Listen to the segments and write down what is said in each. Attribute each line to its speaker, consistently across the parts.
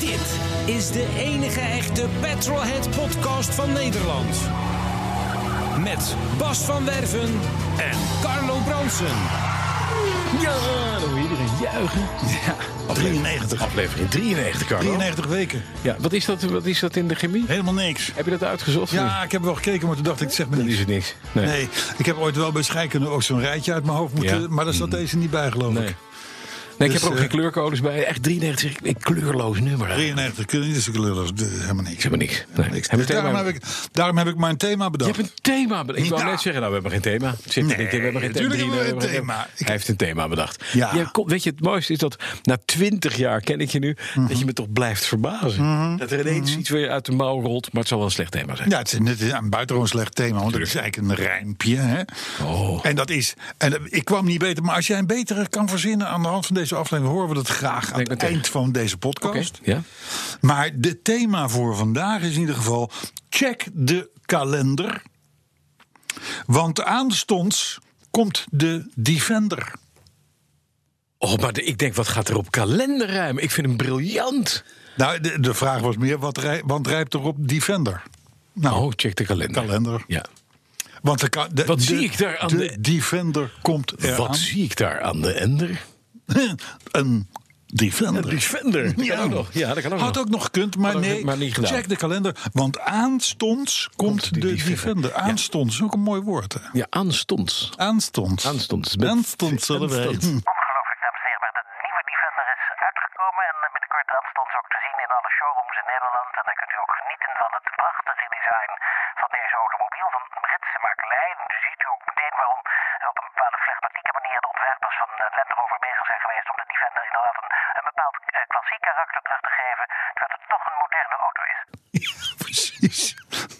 Speaker 1: Dit is de enige echte Petrolhead podcast van Nederland. Met Bas van Werven en Carlo Bronsen.
Speaker 2: Ja, dan wil iedereen juichen.
Speaker 3: Aflevering 93.
Speaker 2: Aflevering 93, Carlo.
Speaker 3: 93 weken.
Speaker 2: Ja, wat is, dat, wat is dat in de chemie?
Speaker 3: Helemaal niks.
Speaker 2: Heb je dat uitgezocht?
Speaker 3: Ja, ik heb wel gekeken, maar toen dacht ik, zeg me
Speaker 2: Dat is
Speaker 3: niks.
Speaker 2: het niks. Nee.
Speaker 3: Nee, ik heb ooit wel bij scheikunde ook zo'n rijtje uit mijn hoofd moeten...
Speaker 2: Ja. Mm.
Speaker 3: Maar daar zat deze niet bij, geloof
Speaker 2: Nee.
Speaker 3: ik.
Speaker 2: Nee, ik
Speaker 3: Dus,
Speaker 2: heb er ook
Speaker 3: eh,
Speaker 2: geen kleurcodes bij. Echt 93, een kleurloos nummer. eigenlijk.
Speaker 3: 93 kun je niet, dus ik lul als de- helemaal niks.
Speaker 2: Helemaal niks. Nee.
Speaker 3: Niks.
Speaker 2: Heb
Speaker 3: Dus
Speaker 2: je
Speaker 3: daarom,
Speaker 2: thema-
Speaker 3: heb ik, daarom heb ik mijn thema
Speaker 2: Je
Speaker 3: bedacht.
Speaker 2: hebt een thema bedacht. Ik
Speaker 3: Niet
Speaker 2: wou
Speaker 3: nou.
Speaker 2: net zeggen, nou, we hebben geen thema. Het Zit,
Speaker 3: Nee,
Speaker 2: we hebben geen
Speaker 3: tuurlijk
Speaker 2: drie,
Speaker 3: hebben we
Speaker 2: nee,
Speaker 3: een thema. Ik-
Speaker 2: Hij heeft een thema bedacht.
Speaker 3: Ja.
Speaker 2: Jij kon- weet je, het mooiste is dat na twintig jaar ken ik je nu...
Speaker 3: Mhm.
Speaker 2: dat je me toch blijft verbazen. Dat er ineens iets weer uit de mouw rolt. Maar het zal wel een slecht thema zijn.
Speaker 3: Ja, het is, het is een buitengewoon slecht thema, want het is eigenlijk een rijmpje. Hè?
Speaker 2: Oh.
Speaker 3: En dat is, en dat- ik kwam niet beter, maar als jij een betere kan verzinnen aan de hand van deze aflevering, horen we dat graag aan het
Speaker 2: Denk meteen.
Speaker 3: eind van deze
Speaker 2: Oké,
Speaker 3: podcast.
Speaker 2: Ja?
Speaker 3: Maar het thema voor vandaag is in ieder geval: check de kalender. Want aanstonds komt de Defender.
Speaker 2: Oh, maar de- ik denk, wat gaat er op kalender ruimen? Ik vind hem briljant.
Speaker 3: Nou, de, de vraag was meer: wat, rij, wat rijpt er op Defender? Nou,
Speaker 2: Oh, check de kalender.
Speaker 3: kalender.
Speaker 2: Ja.
Speaker 3: Want de, ka- de-
Speaker 2: Wat
Speaker 3: de-
Speaker 2: zie ik daar aan
Speaker 3: de,
Speaker 2: de-
Speaker 3: Defender komt eraan.
Speaker 2: Wat zie ik daar aan de ender?
Speaker 3: een Defender.
Speaker 2: Defender. Dat kan ook nog. Ja, dat kan ook
Speaker 3: Had
Speaker 2: nog.
Speaker 3: ook nog gekund, maar
Speaker 2: Had ook
Speaker 3: nee.
Speaker 2: maar niet gedaan.
Speaker 3: Check de kalender, want aanstonds komt,
Speaker 2: die
Speaker 3: de
Speaker 2: Defender.
Speaker 3: Defender. Aanstonds, ook een mooi woord. Hè?
Speaker 2: Ja, aanstonds.
Speaker 3: Aanstonds.
Speaker 2: Aanstonds. Met-
Speaker 3: Aanstonds zullen wij.
Speaker 2: Aanstonds.
Speaker 3: Hm.
Speaker 4: Ongelooflijk, dames en heren, maar de nieuwe Defender is uitgekomen en eh, binnenkort aanstonds ook te zien in alle showrooms in Nederland. En dan kunt u ook genieten van het prachtige design van deze automobiel van een Britse makelij. En u ziet u ook meteen waarom eh, op een bepaalde flegmatieke manier de ontwerpers van eh, Land Rover bezig zijn geweest om de Defender inderdaad een, een bepaald eh, klassiek karakter terug te geven, terwijl het toch een moderne auto is.
Speaker 3: Precies.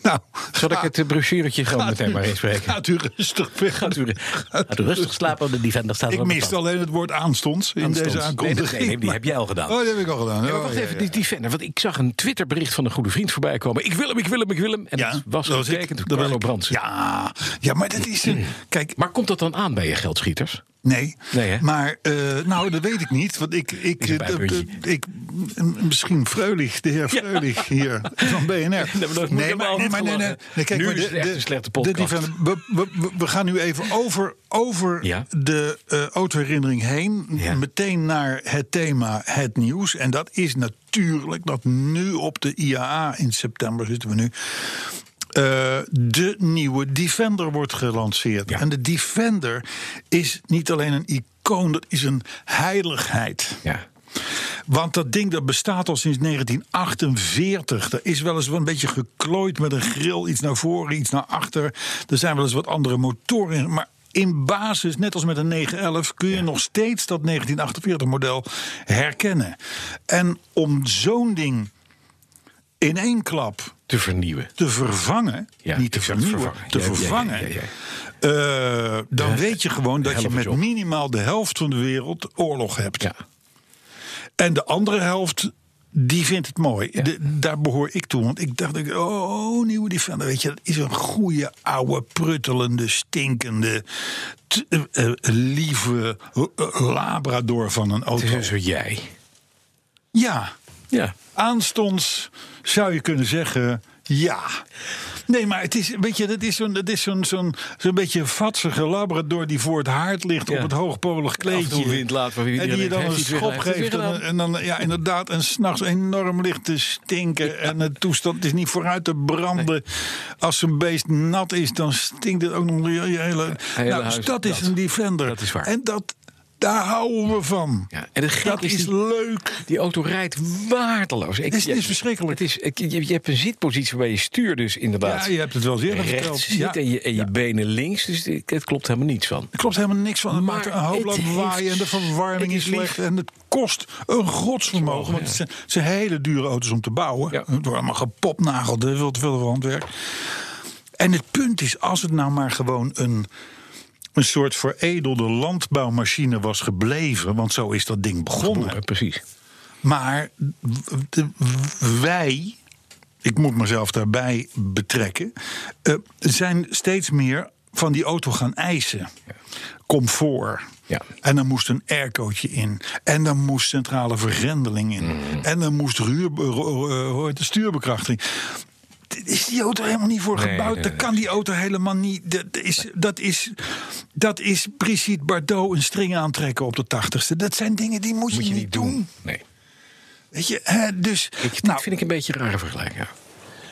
Speaker 3: Nou,
Speaker 2: Zal ik het eh, brochuretje gewoon meteen maar inspreken?
Speaker 3: Gaat u rustig weg.
Speaker 2: Gaat u, gaat u rustig slapen, de defender staat
Speaker 3: Ik
Speaker 2: wel
Speaker 3: miste
Speaker 2: bepaald.
Speaker 3: alleen het woord aanstonds in
Speaker 2: Aanstonds.
Speaker 3: deze aankondiging.
Speaker 2: Nee, nee, nee, die heb jij al gedaan.
Speaker 3: Oh, die heb ik al gedaan.
Speaker 2: Ja, maar
Speaker 3: Oh,
Speaker 2: wacht
Speaker 3: ja,
Speaker 2: even,
Speaker 3: ja.
Speaker 2: die defender. Want ik zag een Twitterbericht van een goede vriend voorbij komen. Ik wil hem, ik wil hem, ik wil hem. En
Speaker 3: Ja,
Speaker 2: dat was
Speaker 3: dat was ik.
Speaker 2: getekend door
Speaker 3: Dat was
Speaker 2: Carlo
Speaker 3: ik.
Speaker 2: Brandsen.
Speaker 3: Ja, ja, maar dat is een. Kijk,
Speaker 2: Maar komt dat dan aan bij je geldschieters?
Speaker 3: nee.
Speaker 2: Nee, hè?
Speaker 3: maar, eh, nou, dat weet ik niet. Want ik. ik,
Speaker 2: Is een
Speaker 3: eh,
Speaker 2: bijpuntje.
Speaker 3: eh, ik m- misschien Freulich, de heer Freulich hier van BNR.
Speaker 2: moet ik hem al
Speaker 3: nee, maar, nee, nee,
Speaker 2: gelachen.
Speaker 3: nee. Kijk,
Speaker 2: Nu
Speaker 3: maar
Speaker 2: is het echt een slechte podcast.
Speaker 3: die van- we, we, we- we gaan nu even over, over
Speaker 2: Ja.
Speaker 3: de eh autoherinnering heen.
Speaker 2: Ja.
Speaker 3: Meteen naar het thema het nieuws. En dat is natuurlijk dat nu op de IAA in september zitten we nu. eh, de nieuwe Defender wordt gelanceerd.
Speaker 2: Ja.
Speaker 3: En de Defender is niet alleen een icoon, dat is een heiligheid.
Speaker 2: Ja.
Speaker 3: Want dat ding dat bestaat al sinds 1948. Er is wel eens wel een beetje geklooid met een grill. Iets naar voren, iets naar achter. Er zijn wel eens wat andere motoren. in, Maar in basis, net als met een 911, kun je nog steeds dat 1948-model herkennen. En om zo'n ding in één klap
Speaker 2: Te vernieuwen.
Speaker 3: te vervangen,
Speaker 2: Ja,
Speaker 3: niet te
Speaker 2: ik wil het
Speaker 3: vernieuwen,
Speaker 2: vervangen.
Speaker 3: te
Speaker 2: Ja, ja, ja,
Speaker 3: vervangen,
Speaker 2: ja, ja.
Speaker 3: eh, dan weet je gewoon dat je
Speaker 2: helft
Speaker 3: met
Speaker 2: job.
Speaker 3: minimaal de helft van de wereld oorlog hebt.
Speaker 2: Ja.
Speaker 3: En de andere helft, die vindt het mooi. De- daar behoor ik toe. Want ik dacht, ik, oh, nieuwe Defender. Weet je, dat is een goede, oude, pruttelende, stinkende, t- eh, eh, lieve eh, labrador van een
Speaker 2: Het is dus-
Speaker 3: auto.
Speaker 2: een soort jij.
Speaker 3: Oh. Ja,
Speaker 2: Ja.
Speaker 3: aanstonds zou je kunnen zeggen... Ja. Nee, maar het is, weet je, dat is zo'n dat is zo'n zo'n zo'n beetje vatsige labrador die voor het haard ligt
Speaker 2: Ja.
Speaker 3: op het hoogpolig
Speaker 2: Af en
Speaker 3: kleedje.
Speaker 2: toe wind laat, maar wie-
Speaker 3: en die je dan
Speaker 2: heeft
Speaker 3: een
Speaker 2: iets weer
Speaker 3: schop
Speaker 2: gedaan, heeft
Speaker 3: geeft.
Speaker 2: iets weer
Speaker 3: En, en dan, ja, inderdaad, en s'nachts enorm ligt te stinken. En het toestand is niet vooruit te branden. Als een beest nat is, dan stinkt het ook nog je, je hele...
Speaker 2: hele
Speaker 3: nou,
Speaker 2: huis
Speaker 3: dat is
Speaker 2: nat.
Speaker 3: een Defender.
Speaker 2: Dat is waar.
Speaker 3: En dat, daar houden we van.
Speaker 2: Ja, En het gek
Speaker 3: Dat
Speaker 2: is,
Speaker 3: is
Speaker 2: die,
Speaker 3: leuk.
Speaker 2: die auto rijdt waardeloos. Ik,
Speaker 3: Het is-
Speaker 2: ja,
Speaker 3: het is verschrikkelijk.
Speaker 2: Het is, ik- je, je hebt een zitpositie waarbij je stuur dus inderdaad
Speaker 3: Ja, je hebt het wel eens eerder verteld.
Speaker 2: rechts zit
Speaker 3: Ja.
Speaker 2: en je, en je benen links. Dus het, het klopt helemaal niets van.
Speaker 3: Er klopt helemaal niks van. Het
Speaker 2: Maar
Speaker 3: maakt een hoop
Speaker 2: het
Speaker 3: loop
Speaker 2: heeft-
Speaker 3: waaien en de verwarming
Speaker 2: het
Speaker 3: is
Speaker 2: is lief.
Speaker 3: slecht. En het kost een godsvermogen. Want het zijn, het zijn hele dure auto's om te bouwen.
Speaker 2: Ja.
Speaker 3: Het wordt allemaal gepopnageld, er veel te veel handwerk. En het punt is, als het nou maar gewoon een, een soort veredelde landbouwmachine was gebleven... want zo is dat ding begonnen.
Speaker 2: Ja, precies.
Speaker 3: Maar w- de- w- wij, ik moet mezelf daarbij betrekken, eh, zijn steeds meer van die auto gaan eisen. Comfort.
Speaker 2: Ja.
Speaker 3: En dan moest een aircootje in. En dan moest centrale vergrendeling
Speaker 2: Mm.
Speaker 3: in. En dan moest ruur, ro- ro- ro- hoe heet het, stuurbekrachting. Dit Is die auto helemaal niet voor
Speaker 2: Nee,
Speaker 3: gebouwd?
Speaker 2: nee,
Speaker 3: Daar
Speaker 2: nee.
Speaker 3: kan die auto helemaal niet. Dat is, dat is, dat is Brigitte Bardot een string aantrekken op de tachtigste. Dat zijn dingen die moet je,
Speaker 2: Moet je
Speaker 3: niet,
Speaker 2: niet doen.
Speaker 3: doen.
Speaker 2: Nee.
Speaker 3: Weet je, hè, dus.
Speaker 2: Ik,
Speaker 3: nou,
Speaker 2: dat vind ik een beetje een rare vergelijking. ja.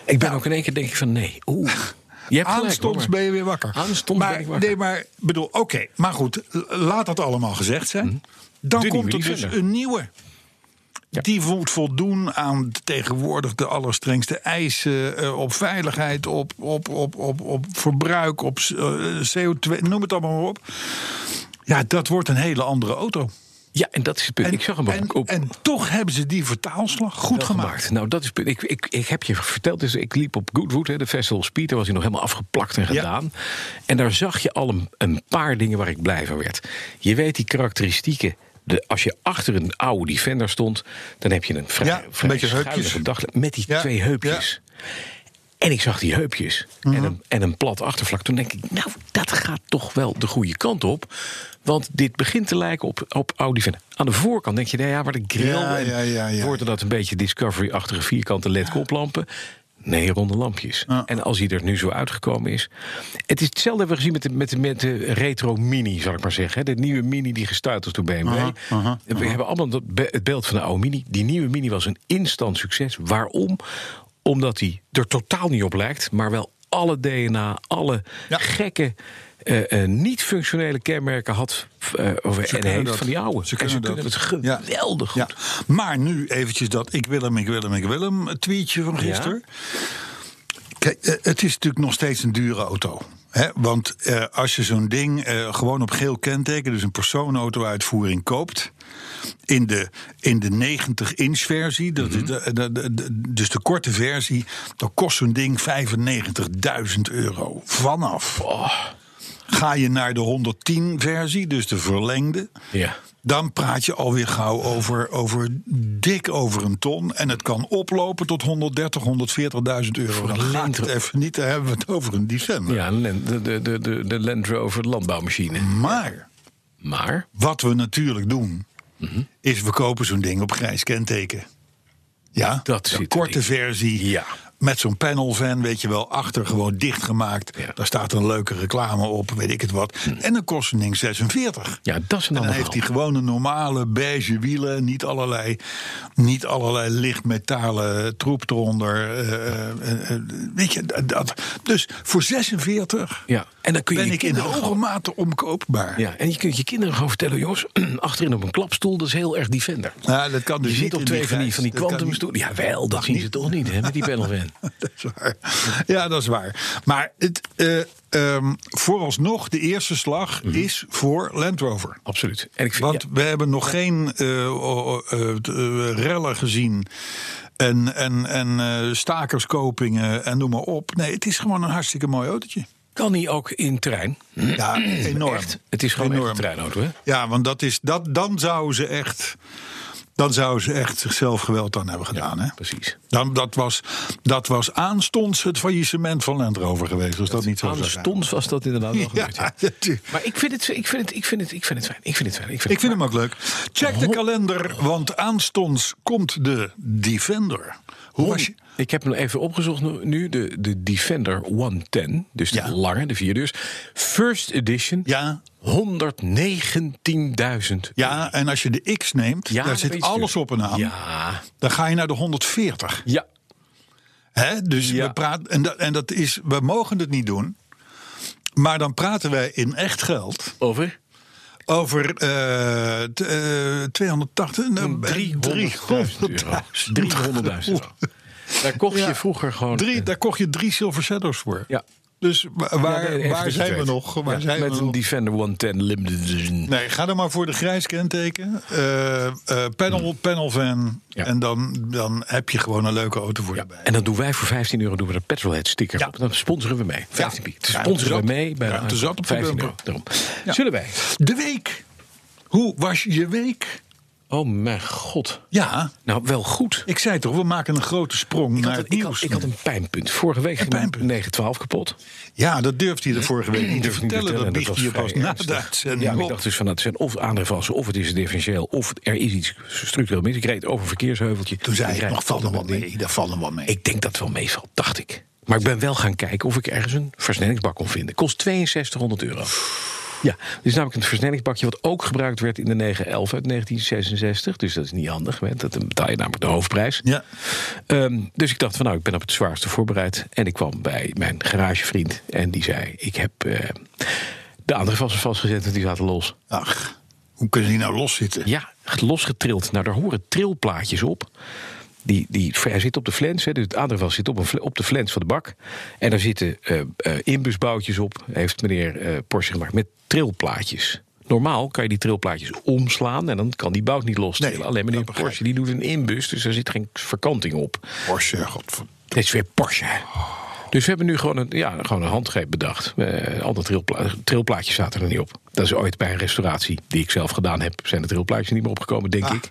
Speaker 2: Ik ben ook in één keer denk ik van nee. Oeh. Je hebt gelijk,
Speaker 3: aanstonds
Speaker 2: hoor.
Speaker 3: ben je weer wakker.
Speaker 2: Aanstonds
Speaker 3: maar,
Speaker 2: ben ik wakker.
Speaker 3: Nee, maar bedoel, oké, maar goed, l- laat dat allemaal gezegd
Speaker 2: Mhm.
Speaker 3: zijn. Dan
Speaker 2: De
Speaker 3: komt
Speaker 2: nieuwe
Speaker 3: er dus
Speaker 2: Defender.
Speaker 3: een nieuwe.
Speaker 2: Ja.
Speaker 3: Die moet voldoen aan tegenwoordig de allerstrengste eisen eh, op veiligheid, op, op, op, op, op verbruik, op eh, CO2, noem het allemaal maar op. Ja, dat wordt een hele andere auto.
Speaker 2: Ja, en dat is het punt. ik zag hem
Speaker 3: en,
Speaker 2: ook op.
Speaker 3: en toch hebben ze die vertaalslag goed
Speaker 2: Wel
Speaker 3: gemaakt.
Speaker 2: Nou, dat is. het punt. Ik, ik, ik heb je verteld, dus ik liep op Goodwood, hè, de Festival Speed. Daar was hij nog helemaal afgeplakt en
Speaker 3: Ja.
Speaker 2: gedaan. En daar zag je al een, een paar dingen waar ik blij van werd. Je weet die karakteristieken. De, als je achter een oude Defender stond, dan heb je een vrij,
Speaker 3: Ja, een
Speaker 2: vrij
Speaker 3: beetje
Speaker 2: schuinige
Speaker 3: heupjes.
Speaker 2: daglicht met die
Speaker 3: Ja, Mhm.
Speaker 2: twee heupjes. En ik zag die heupjes en, een, en een plat achtervlak. Toen denk ik, nou, dat gaat toch wel de goede kant op. Want dit begint te lijken op, op Audi Defender. Aan de voorkant denk je, nou ja, waar de grill
Speaker 3: Ja,
Speaker 2: en
Speaker 3: ja, ja, ja.
Speaker 2: wordt er dat een beetje Discovery-achtige vierkante LED-koplampen. Nee, ronde lampjes.
Speaker 3: Ja.
Speaker 2: En als hij er nu zo uitgekomen is. Het is hetzelfde hebben we gezien met de, met de, met de retro Mini, zal ik maar zeggen. hè. De nieuwe Mini die gestuurd was door BMW.
Speaker 3: Aha, aha,
Speaker 2: we hebben allemaal dat be- het beeld van de oude Mini. Die nieuwe Mini was een instant succes. Waarom? Omdat hij er totaal niet op lijkt, maar wel alle DNA, alle
Speaker 3: Ja.
Speaker 2: gekke, eh, eh, niet-functionele kenmerken had eh, of, en
Speaker 3: kunnen
Speaker 2: heeft
Speaker 3: dat.
Speaker 2: van die oude.
Speaker 3: Ze
Speaker 2: en ze
Speaker 3: kunnen
Speaker 2: kunnen het
Speaker 3: dat.
Speaker 2: geweldig goed.
Speaker 3: Ja. Maar nu eventjes dat ik wil hem, ik wil hem, ik wil hem het tweetje van gisteren. Kijk, eh, het is natuurlijk nog steeds een dure auto. Hè? Want eh, als je zo'n ding eh, gewoon op geel kenteken, dus een persoonauto-uitvoering koopt. In de, in de 90-inch versie, dat is de- de- de- de- dus de korte versie, dan kost zo'n ding 95.000 euro vanaf. Ga je naar de 110-versie, dus de verlengde,
Speaker 2: Ja.
Speaker 3: dan praat je alweer gauw over, over dik over een ton. En het kan oplopen tot 130, 140.000 euro. Dan gaat het even niet, dan hebben we het over een december.
Speaker 2: Ja, de, de, de, de, de Land Rover landbouwmachine.
Speaker 3: Maar
Speaker 2: Maar,
Speaker 3: wat we natuurlijk doen,
Speaker 2: Mhm.
Speaker 3: is we kopen zo'n ding op grijs kenteken. Ja,
Speaker 2: Dat
Speaker 3: de
Speaker 2: zit
Speaker 3: korte
Speaker 2: erin.
Speaker 3: versie.
Speaker 2: Ja.
Speaker 3: Met zo'n panel van, weet je wel, achter gewoon dichtgemaakt.
Speaker 2: Ja. Mhm.
Speaker 3: Daar staat een leuke reclame op, weet ik het wat. En dan kost een ding 46.
Speaker 2: ja, dat is een
Speaker 3: En dan
Speaker 2: ander
Speaker 3: heeft hij
Speaker 2: verhaal.
Speaker 3: gewoon een normale beige wielen. Niet allerlei, niet allerlei lichtmetalen troep eronder. eh, eh, eh, weet je, dat- dat. Dus voor 46
Speaker 2: Ja, en dan kun je
Speaker 3: ben
Speaker 2: je
Speaker 3: ik in
Speaker 2: kinderen
Speaker 3: hoge
Speaker 2: gewoon-
Speaker 3: mate omkoopbaar. Ja.
Speaker 2: Ja, en je kunt je kinderen gewoon vertellen, jongens, achterin op een klapstoel, dat is heel erg Defender.
Speaker 3: dat kan dus
Speaker 2: je
Speaker 3: niet
Speaker 2: zit op
Speaker 3: in
Speaker 2: twee van die,
Speaker 3: grijs.
Speaker 2: van die
Speaker 3: Dat kan niet.
Speaker 2: kwantumstoelen. Ja, wel, dat zien ze toch niet, hè, met die panel van.
Speaker 3: Dat is waar. Ja, dat is waar. Maar het, eh, ehm, vooralsnog, de eerste slag
Speaker 2: Mhm.
Speaker 3: is voor Land Rover.
Speaker 2: Absoluut. En ik vind,
Speaker 3: Want
Speaker 2: ja,
Speaker 3: we hebben nog geen eh, o- o- eh, t- eh, rellen gezien. En, en, en eh, stakerskopingen en noem maar op. Nee, het is gewoon een hartstikke mooi autootje.
Speaker 2: kan hij ook in trein?
Speaker 3: Ja, enorm.
Speaker 2: Echt, het is gewoon echt een treinauto, hè?
Speaker 3: Ja, want dat is, dat, dan zouden ze echt... Dan zouden ze echt zichzelf geweld aan hebben gedaan. hè?
Speaker 2: Precies.
Speaker 3: Dan, dat, was, dat was aanstonds het faillissement van Land Rover geweest. Als dat, niet zo zou zijn.
Speaker 2: Aanstonds was dat inderdaad wel gebeurd,
Speaker 3: Ja,
Speaker 2: ja.
Speaker 3: natuurlijk.
Speaker 2: Maar ik vind het, ik vind het, ik vind het, ik vind het fijn. Ik vind het fijn. Ik vind
Speaker 3: Ik
Speaker 2: het
Speaker 3: vind hem ook leuk. Check de kalender, want aanstonds komt de Defender. Hoe was je?
Speaker 2: Ik heb hem even opgezocht nu- nu. De, de Defender 110, dus de
Speaker 3: Ja.
Speaker 2: lange, de vierdeurs. First edition,
Speaker 3: Ja.
Speaker 2: 119.000.
Speaker 3: Ja, en als je de X neemt,
Speaker 2: Ja,
Speaker 3: daar
Speaker 2: dat
Speaker 3: zit
Speaker 2: weet je
Speaker 3: alles op
Speaker 2: natuurlijk.
Speaker 3: en aan.
Speaker 2: Ja,
Speaker 3: Dan ga je naar de 140.
Speaker 2: ja.
Speaker 3: Hè? Dus
Speaker 2: Ja.
Speaker 3: we praten, en, dat, en dat is, we mogen het niet doen. Maar dan praten wij in echt geld
Speaker 2: over.
Speaker 3: Over eh, t- eh, 280... nou,
Speaker 2: 300.000 euro. 300.000 euro. Daar kocht je vroeger gewoon...
Speaker 3: Drie, daar kocht je drie Silver Shadows voor.
Speaker 2: Ja.
Speaker 3: Dus wa-
Speaker 2: Ja,
Speaker 3: waar,
Speaker 2: even
Speaker 3: waar
Speaker 2: dus
Speaker 3: zijn we
Speaker 2: twee.
Speaker 3: nog? Waar
Speaker 2: Ja,
Speaker 3: zijn
Speaker 2: met
Speaker 3: we
Speaker 2: een
Speaker 3: nog?
Speaker 2: Defender 110 Limited Edition.
Speaker 3: Nee, ga er maar voor de grijs kenteken. Eh, eh, panel, panel van.
Speaker 2: Hmm. Ja.
Speaker 3: En dan, dan heb je gewoon een leuke auto voor je bij.
Speaker 2: En dat doen wij voor 15 euro, doen we de petrolhead sticker
Speaker 3: Ja.
Speaker 2: op. Dan sponsoren we mee. 15
Speaker 3: Ja.
Speaker 2: piek. Dan
Speaker 3: Ja,
Speaker 2: sponsoren we
Speaker 3: te zat.
Speaker 2: mee bij
Speaker 3: Ja,
Speaker 2: de
Speaker 3: te
Speaker 2: aankoop.
Speaker 3: zat op de
Speaker 2: 15
Speaker 3: bumper.
Speaker 2: euro. Daarom. Zullen wij?
Speaker 3: De week. Hoe was je week?
Speaker 2: Oh mijn god.
Speaker 3: Ja,
Speaker 2: Nou, wel goed.
Speaker 3: ik zei toch, we maken een grote sprong
Speaker 2: Ik
Speaker 3: naar
Speaker 2: had, een,
Speaker 3: het
Speaker 2: ik, had,
Speaker 3: nieuws.
Speaker 2: ik had een pijnpunt. Vorige week ging mijn
Speaker 3: pijnpunt.
Speaker 2: 912 kapot.
Speaker 3: Ja, dat durfde hij de vorige week niet te
Speaker 2: durfde ik niet te
Speaker 3: vertellen. Dat
Speaker 2: vertellen,
Speaker 3: biecht je
Speaker 2: dat was
Speaker 3: pas
Speaker 2: vrij
Speaker 3: na de
Speaker 2: ernstig.
Speaker 3: uitzending
Speaker 2: Ja, maar ik
Speaker 3: op.
Speaker 2: dacht dus van nou, het zijn of aandrijfwassen, of het is differentieel, of er is iets structureel mis. Ik reed over een verkeersheuveltje.
Speaker 3: Toen zei
Speaker 2: Ik
Speaker 3: ik
Speaker 2: rijd
Speaker 3: nog, valt nog wel
Speaker 2: altijd met
Speaker 3: mee. Daar valt nog wel mee.
Speaker 2: Ik denk dat het wel meevalt, dacht ik. Maar ik ben wel gaan kijken of ik ergens een versnellingsbak kon vinden. Kost 6200 euro. Ja, dit is namelijk een versnellingsbakje wat ook gebruikt werd in de 911 uit 1966. Dus dat is niet handig, hè? dat dan betaal je namelijk de hoofdprijs.
Speaker 3: Ja.
Speaker 2: Ehm, dus ik dacht van nou, ik ben op het zwaarste voorbereid. En ik kwam bij mijn garagevriend en die zei... ik heb eh, de andere vasten vastgezet en die zaten los.
Speaker 3: Ach, hoe kunnen die nou loszitten?
Speaker 2: Ja, losgetrild. Nou, daar horen trilplaatjes op. Die, die, hij zit op de flens, hè, dus het aandrijfvel zit op, een, fle- op de flens van de bak. En daar zitten eh eh, inbusboutjes op, heeft meneer eh, Porsche gemaakt, met trilplaatjes. Normaal kan je die trilplaatjes omslaan en dan kan die bout niet lostrillen.
Speaker 3: Nee,
Speaker 2: Alleen meneer
Speaker 3: dat begrijp
Speaker 2: Porsche die doet een inbus, dus daar zit geen verkanting op.
Speaker 3: Porsche, godver...
Speaker 2: Dit is weer Porsche. hè. Dus we hebben nu gewoon een, ja, gewoon een handgreep bedacht. Eh al dat trilpla trilplaatjes zaten er niet op. Dat is ooit bij een restauratie die ik zelf gedaan heb. Zijn de trilplaatjes niet meer opgekomen, denk
Speaker 3: Ah.
Speaker 2: ik.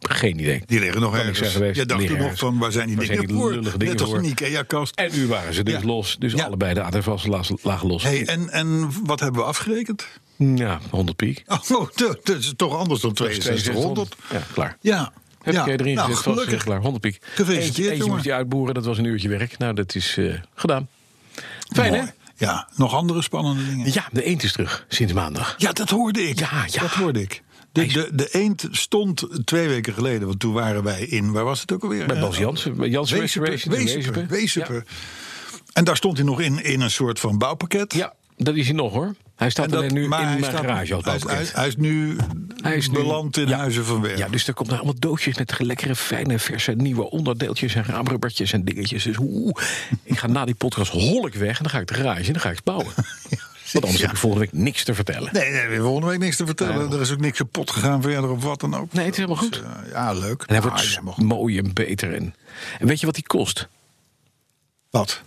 Speaker 2: Geen idee.
Speaker 3: Die liggen nog
Speaker 2: Kan ik
Speaker 3: ergens.
Speaker 2: zijn geweest,
Speaker 3: Je dacht
Speaker 2: die
Speaker 3: toen
Speaker 2: liggen
Speaker 3: nog van,
Speaker 2: ergens.
Speaker 3: waar zijn die
Speaker 2: Waar
Speaker 3: dingen
Speaker 2: zijn die
Speaker 3: voor?
Speaker 2: lullige dingen
Speaker 3: Net als
Speaker 2: voor?
Speaker 3: een IKEA-kast.
Speaker 2: En nu waren ze dus
Speaker 3: Ja.
Speaker 2: los. Dus
Speaker 3: Ja.
Speaker 2: allebei de aardrijfwassen lagen los.
Speaker 3: Hey, eh. en, en wat hebben we afgerekend?
Speaker 2: Ja, 100 piek.
Speaker 3: Oh, dat is toch anders dan 6200.
Speaker 2: Ja, klaar.
Speaker 3: Ja.
Speaker 2: Heb
Speaker 3: ja.
Speaker 2: ik eh, erin
Speaker 3: nou,
Speaker 2: gezet, vast
Speaker 3: gelukkig.
Speaker 2: klaar, 100 piek.
Speaker 3: Gefeliciteerd,
Speaker 2: Eentje, eentje
Speaker 3: jongen.
Speaker 2: moest je uitboeren, dat was een uurtje werk. Nou, dat is eh, gedaan. Fijn,
Speaker 3: Mooi.
Speaker 2: hè?
Speaker 3: Ja, nog andere spannende dingen.
Speaker 2: Ja, de eend is terug, sinds maandag.
Speaker 3: Ja, dat hoorde ik.
Speaker 2: Ja, ja.
Speaker 3: Dat hoorde ik. De, de, de eend stond twee weken geleden, want toen waren wij in, waar was het ook alweer? Eh,
Speaker 2: Bij Bas Jansen, bij Jansen
Speaker 3: Wezepen.
Speaker 2: Restoration in
Speaker 3: Wezepen.
Speaker 2: Wezepen.
Speaker 3: Wezepen. En daar stond hij nog in, in een soort van bouwpakket.
Speaker 2: Ja, dat is hij nog hoor. Hij staat
Speaker 3: En dat,
Speaker 2: alleen nu in
Speaker 3: maar hij
Speaker 2: mijn
Speaker 3: staat-
Speaker 2: garage als
Speaker 3: hij is- hij,
Speaker 2: bouwpakket.
Speaker 3: is- hij is nu
Speaker 2: Hij is nu-
Speaker 3: beland in
Speaker 2: ja.
Speaker 3: Huizen van Werven.
Speaker 2: Ja, dus daar komt nou allemaal doosjes met lekkere, fijne, verse, nieuwe onderdeeltjes en raamrubbertjes en dingetjes. Dus oeh, ik ga na die podcast hol ik weg en dan ga ik de garage en dan ga ik bouwen. Want anders heb ik volgende week niks te vertellen.
Speaker 3: Nee, nee, we hebben volgende week niks te vertellen.
Speaker 2: Nee.
Speaker 3: er is ook niks kapot gegaan verder of wat dan ook.
Speaker 2: Nee, het is helemaal goed.
Speaker 3: Dus, eh, ja, leuk.
Speaker 2: En hij
Speaker 3: Ah,
Speaker 2: wordt dus
Speaker 3: ja,
Speaker 2: s-
Speaker 3: mag-
Speaker 2: mooi en beter. En, en weet je wat die kost?
Speaker 3: Wat?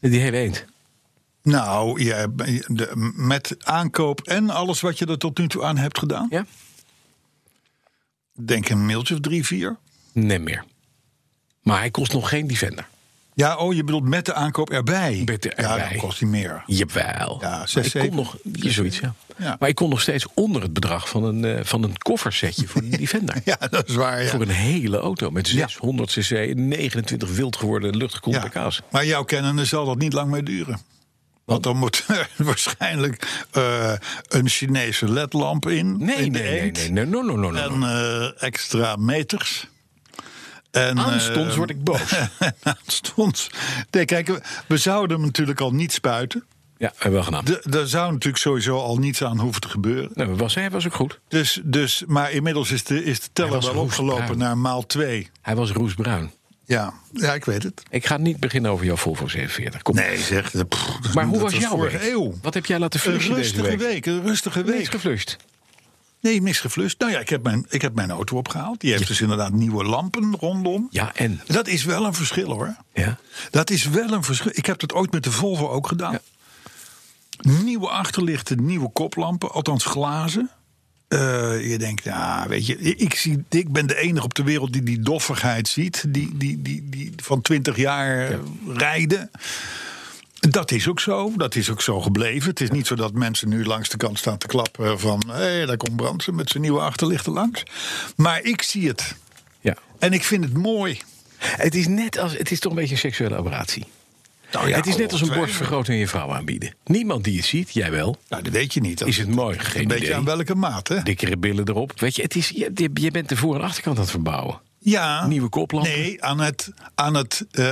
Speaker 2: Die hele eend.
Speaker 3: Nou, jij b- de- met aankoop en alles wat je er tot nu toe aan hebt gedaan.
Speaker 2: Ja?
Speaker 3: Denk een mailtje of drie, vier.
Speaker 2: Nee meer. Maar hij kost nog geen Defender.
Speaker 3: Ja, oh, je bedoelt met de aankoop erbij.
Speaker 2: Met de
Speaker 3: Ja,
Speaker 2: erbij.
Speaker 3: dan kost hij meer.
Speaker 2: Jawel.
Speaker 3: Ja,
Speaker 2: Maar
Speaker 3: zes,
Speaker 2: ik kon
Speaker 3: zeven.
Speaker 2: nog, ja, zoiets, ja.
Speaker 3: Ja.
Speaker 2: Maar ik kon nog steeds onder het bedrag van een, eh, van een koffersetje voor die Defender.
Speaker 3: Ja, dat is waar. ja.
Speaker 2: Voor een hele auto met 600 cc, 29 wild geworden luchtgekoelde
Speaker 3: Ja.
Speaker 2: kaas.
Speaker 3: Maar jouw kennende zal dat niet lang meer duren. Want dan moet er waarschijnlijk eh, een Chinese ledlamp in.
Speaker 2: Nee, nee,
Speaker 3: in de
Speaker 2: nee,
Speaker 3: eend.
Speaker 2: nee, nee, no, no, no, no.
Speaker 3: En eh, extra meters. En,
Speaker 2: Aanstonds
Speaker 3: eh,
Speaker 2: word ik boos.
Speaker 3: aanstonds. Nee, kijk, we- we zouden hem natuurlijk al niet spuiten.
Speaker 2: ja, en wel gedaan.
Speaker 3: De- Daar zou natuurlijk sowieso al niets aan hoeven te gebeuren.
Speaker 2: Nou, was, hij was ook goed.
Speaker 3: Dus, dus, maar inmiddels is de, is de teller
Speaker 2: Hij was
Speaker 3: wel
Speaker 2: roest
Speaker 3: opgelopen
Speaker 2: bruin.
Speaker 3: naar maal 2.
Speaker 2: Hij was roesbruin.
Speaker 3: Ja. ja, ik weet het.
Speaker 2: Ik ga niet beginnen over jouw Volvo 47. Kom.
Speaker 3: Nee, zeg. dat- pff,
Speaker 2: maar hoe
Speaker 3: dat
Speaker 2: was jouw
Speaker 3: vorige
Speaker 2: week?
Speaker 3: eeuw?
Speaker 2: Wat heb jij laten
Speaker 3: Een
Speaker 2: flushen deze
Speaker 3: rustige
Speaker 2: week?
Speaker 3: week. een rustige
Speaker 2: Niks
Speaker 3: week.
Speaker 2: geflusht.
Speaker 3: Nee, misgeflust. Nou ja, ik heb mijn, ik heb mijn auto opgehaald. Die heeft dus inderdaad nieuwe lampen rondom.
Speaker 2: Ja, en?
Speaker 3: Dat is wel een verschil hoor.
Speaker 2: Ja.
Speaker 3: Dat is wel een verschil. Ik heb dat ooit met de Volvo ook gedaan. Nieuwe achterlichten, nieuwe koplampen, althans glazen. Eh, je denkt, ja, weet je, ik, ik zie, ik ben de enige op de wereld die die doffigheid ziet. Die, die, die, die van 20 jaar eh, rijden. Dat is ook zo. Dat is ook zo gebleven. Het is niet zo dat mensen nu langs de kant staan te klappen van... hé, daar komt Bransen met zijn nieuwe achterlichten langs. Maar ik zie het.
Speaker 2: ja.
Speaker 3: En ik vind het mooi.
Speaker 2: Het is net als, het is toch een beetje een seksuele aberratie.
Speaker 3: Nou ja,
Speaker 2: het is net als een
Speaker 3: twee.
Speaker 2: borstvergroting aan je vrouw aanbieden. Niemand die het ziet, jij wel.
Speaker 3: Nou, dat weet je niet. Dat
Speaker 2: Is het mooi? Geen
Speaker 3: Een beetje
Speaker 2: idee.
Speaker 3: aan welke maat, hè?
Speaker 2: Dikkere billen erop. Weet je, het is, je, je bent de voor- en achterkant aan het verbouwen.
Speaker 3: Ja.
Speaker 2: Nieuwe koplampen
Speaker 3: Nee, aan het, aan het eh,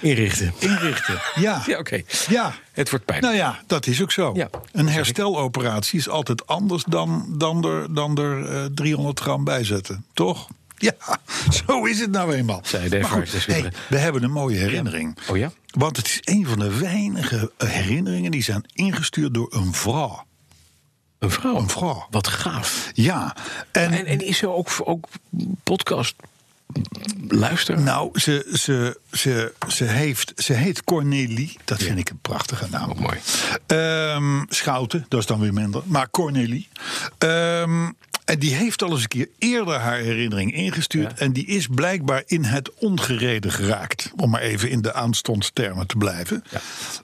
Speaker 2: inrichten.
Speaker 3: herinrichten. Ja.
Speaker 2: Ja, oké.
Speaker 3: Ja.
Speaker 2: Het wordt pijn.
Speaker 3: Nou ja, dat is ook zo.
Speaker 2: Ja,
Speaker 3: een hersteloperatie is altijd anders dan, dan er, dan er eh, 300 gram bij zetten, toch? Ja, zo is het nou eenmaal.
Speaker 2: Zei de
Speaker 3: Maar goed,
Speaker 2: ervaringsdeskundige.
Speaker 3: hey, we hebben een mooie herinnering.
Speaker 2: Oh ja?
Speaker 3: Want het is een van de weinige herinneringen die zijn ingestuurd door een vrouw.
Speaker 2: Een vrouw.
Speaker 3: Een vrouw.
Speaker 2: Wat gaaf.
Speaker 3: Ja, en,
Speaker 2: En, en is ze ook, ook podcast luisteren?
Speaker 3: Nou, ze, ze, ze, ze, heeft, ze heet Cornelie. Dat vind ik een prachtige naam.
Speaker 2: Ook mooi.
Speaker 3: Ehm, Schouten, dat is dan weer minder. Maar Cornelie. Ehm, en die heeft al eens een keer eerder haar herinnering ingestuurd. En die is blijkbaar in het ongereden geraakt. Om maar even in de aanstondstermen te blijven.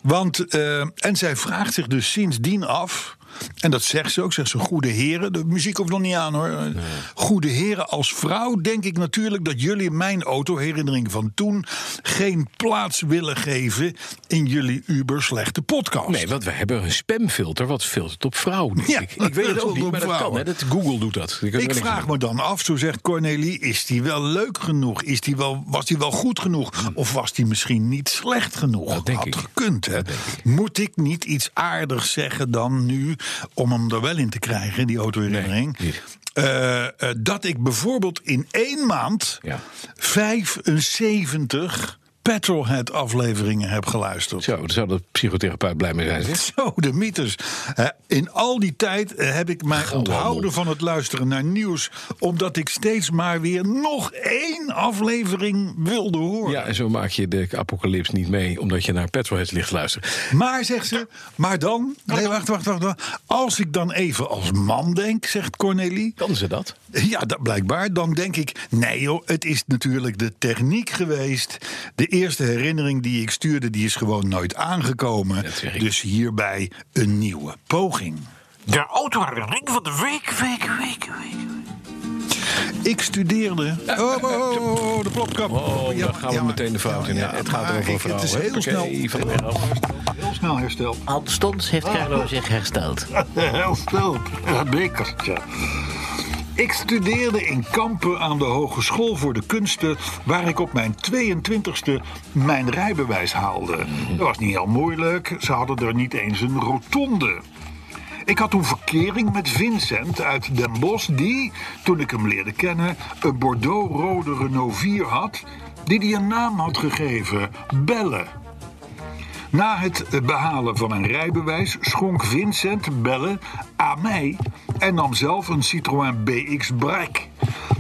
Speaker 3: Want, ehm, en zij vraagt zich dus sindsdien af. En dat zegt ze ook, zegt ze, goede heren. De muziek hoeft nog niet aan hoor. Goede heren, als vrouw denk ik natuurlijk dat jullie mijn auto-herinnering van toen geen plaats willen geven in jullie uber slechte podcast.
Speaker 2: Nee, want we hebben een spamfilter wat filtert op vrouw. Denk
Speaker 3: Ja,
Speaker 2: ik. ik weet het
Speaker 3: dat
Speaker 2: ook niet,
Speaker 3: op
Speaker 2: maar dat kan.
Speaker 3: vrouwen.
Speaker 2: Hè. Dat, Google doet dat. Je kunt
Speaker 3: Ik
Speaker 2: er niks aan
Speaker 3: vraag
Speaker 2: doen.
Speaker 3: me dan af, zo zegt Cornelie, is die wel leuk genoeg? Is die wel, was die wel goed genoeg? Of was die misschien niet slecht genoeg?
Speaker 2: Hmm. Dat denk
Speaker 3: Had
Speaker 2: ik.
Speaker 3: gekund, hè? Moet ik niet iets aardigs zeggen dan nu, om hem er wel in te krijgen, die autoherinnering?
Speaker 2: Nee, niet.
Speaker 3: Eh, eh, dat ik bijvoorbeeld in één maand
Speaker 2: Ja.
Speaker 3: 75 Petrolhead afleveringen heb geluisterd.
Speaker 2: Zo, daar zou de psychotherapeut blij mee zijn. Zeg.
Speaker 3: Zo, de mythes. Hè, In al die tijd eh, heb ik mij onthouden van het luisteren naar nieuws. Omdat ik steeds maar weer nog één aflevering wilde horen.
Speaker 2: Ja, en zo maak je de apocalyps niet mee, omdat je naar Petrolheads ligt te luisteren.
Speaker 3: Maar, zegt ze, maar dan. Nee, wacht, wacht, wacht, wacht. Als ik dan even als man denk, zegt Cornelie.
Speaker 2: Kan ze dat?
Speaker 3: Ja, dat blijkbaar. Dan denk ik, nee joh, het is natuurlijk de techniek geweest. De eerste herinnering die ik stuurde, die is gewoon nooit aangekomen.
Speaker 2: Dat zeg ik.
Speaker 3: Dus hierbij een nieuwe poging.
Speaker 5: De autoherinnering van de week, week, week, week.
Speaker 3: Ik studeerde. Oh, oh, oh, oh, de plopkap.
Speaker 2: Oh,
Speaker 3: Ja,
Speaker 2: dan
Speaker 3: maar-
Speaker 2: gaan we
Speaker 3: ja, maar-
Speaker 2: meteen de fout in.
Speaker 3: ja, ja,
Speaker 2: het gaat
Speaker 3: maar
Speaker 2: erover
Speaker 3: ik-
Speaker 2: vrouwen.
Speaker 3: Het is heel snel,
Speaker 2: Huppakee, van de Bijl.
Speaker 3: heel snel hersteld.
Speaker 6: Aanstonds heeft Carlo zich hersteld.
Speaker 3: Heel snel, dat bekertje. Ik studeerde in Kampen aan de Hogeschool voor de Kunsten, waar ik op mijn 22e mijn rijbewijs haalde. Dat was niet heel moeilijk, ze hadden er niet eens een rotonde. Ik had toen verkering met Vincent uit Den Bosch, die, toen ik hem leerde kennen, een Bordeaux-rode Renault 4 had, die hij een naam had gegeven: Bellen. Na het behalen van een rijbewijs schonk Vincent Belle aan mij en nam zelf een Citroën BX Brek,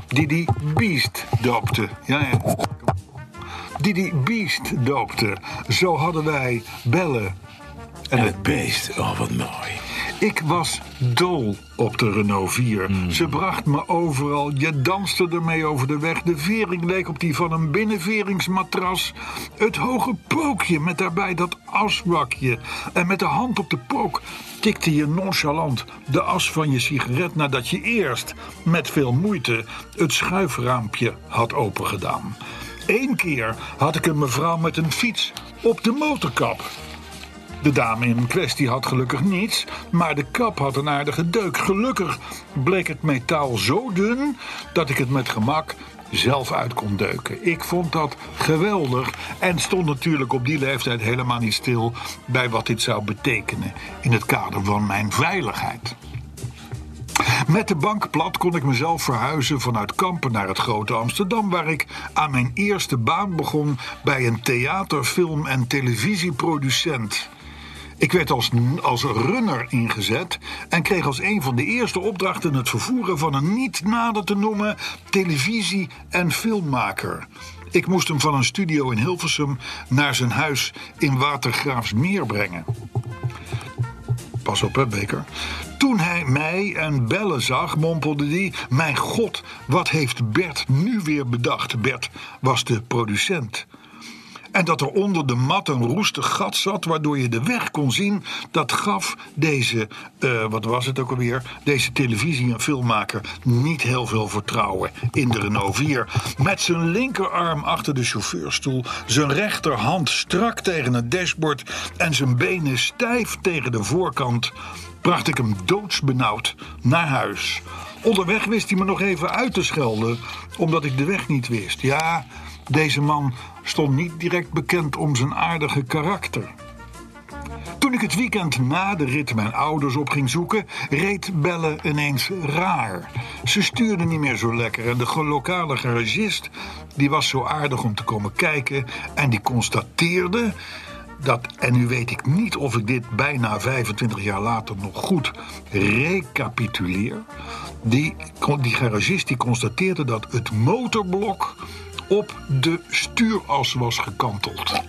Speaker 3: die die Beast doopte. Ja, ja. Die die Beast doopte. Zo hadden wij Belle en het beest.
Speaker 2: Oh, wat mooi.
Speaker 3: Ik was dol op de Renault 4. Ze bracht me overal. Je danste ermee over de weg. De vering leek op die van een binnenveringsmatras. Het hoge pookje met daarbij dat asbakje. En met de hand op de pook tikte je nonchalant de as van je sigaret nadat je eerst met veel moeite het schuifraampje had opengedaan. Eén keer had ik een mevrouw met een fiets op de motorkap. De dame in kwestie had gelukkig niets, maar de kap had een aardige deuk. Gelukkig bleek het metaal zo dun dat ik het met gemak zelf uit kon deuken. Ik vond dat geweldig en stond natuurlijk op die leeftijd helemaal niet stil bij wat dit zou betekenen in het kader van mijn veiligheid. Met de bank plat kon ik mezelf verhuizen vanuit Kampen naar het grote Amsterdam, waar ik aan mijn eerste baan begon bij een theaterfilm- en televisieproducent. Ik werd als, als runner ingezet en kreeg als een van de eerste opdrachten het vervoeren van een niet nader te noemen televisie- en filmmaker. Ik moest hem van een studio in Hilversum naar zijn huis in Watergraafsmeer brengen pas op hè, Beker. Toen hij mij en Bellen zag, mompelde hij... Mijn god, wat heeft Bert nu weer bedacht? Bert was de producent. En dat er onder de mat een roestig gat zat, waardoor je de weg kon zien... dat gaf deze, eh, wat was het ook alweer... deze televisie- en filmmaker niet heel veel vertrouwen in de Renault 4. Met zijn linkerarm achter de chauffeurstoel... zijn rechterhand strak tegen het dashboard... en zijn benen stijf tegen de voorkant... bracht ik hem doodsbenauwd naar huis... Onderweg wist hij me nog even uit te schelden, omdat ik de weg niet wist. Ja, deze man stond niet direct bekend om zijn aardige karakter. Toen ik het weekend na de rit mijn ouders op ging zoeken, reed Belle ineens raar. Ze stuurde niet meer zo lekker en de ge- lokale garagist die was zo aardig om te komen kijken en die constateerde dat, en nu weet ik niet of ik dit bijna 25 jaar later nog goed recapituleer, die, die garagist die constateerde dat het motorblok op de stuuras was gekanteld.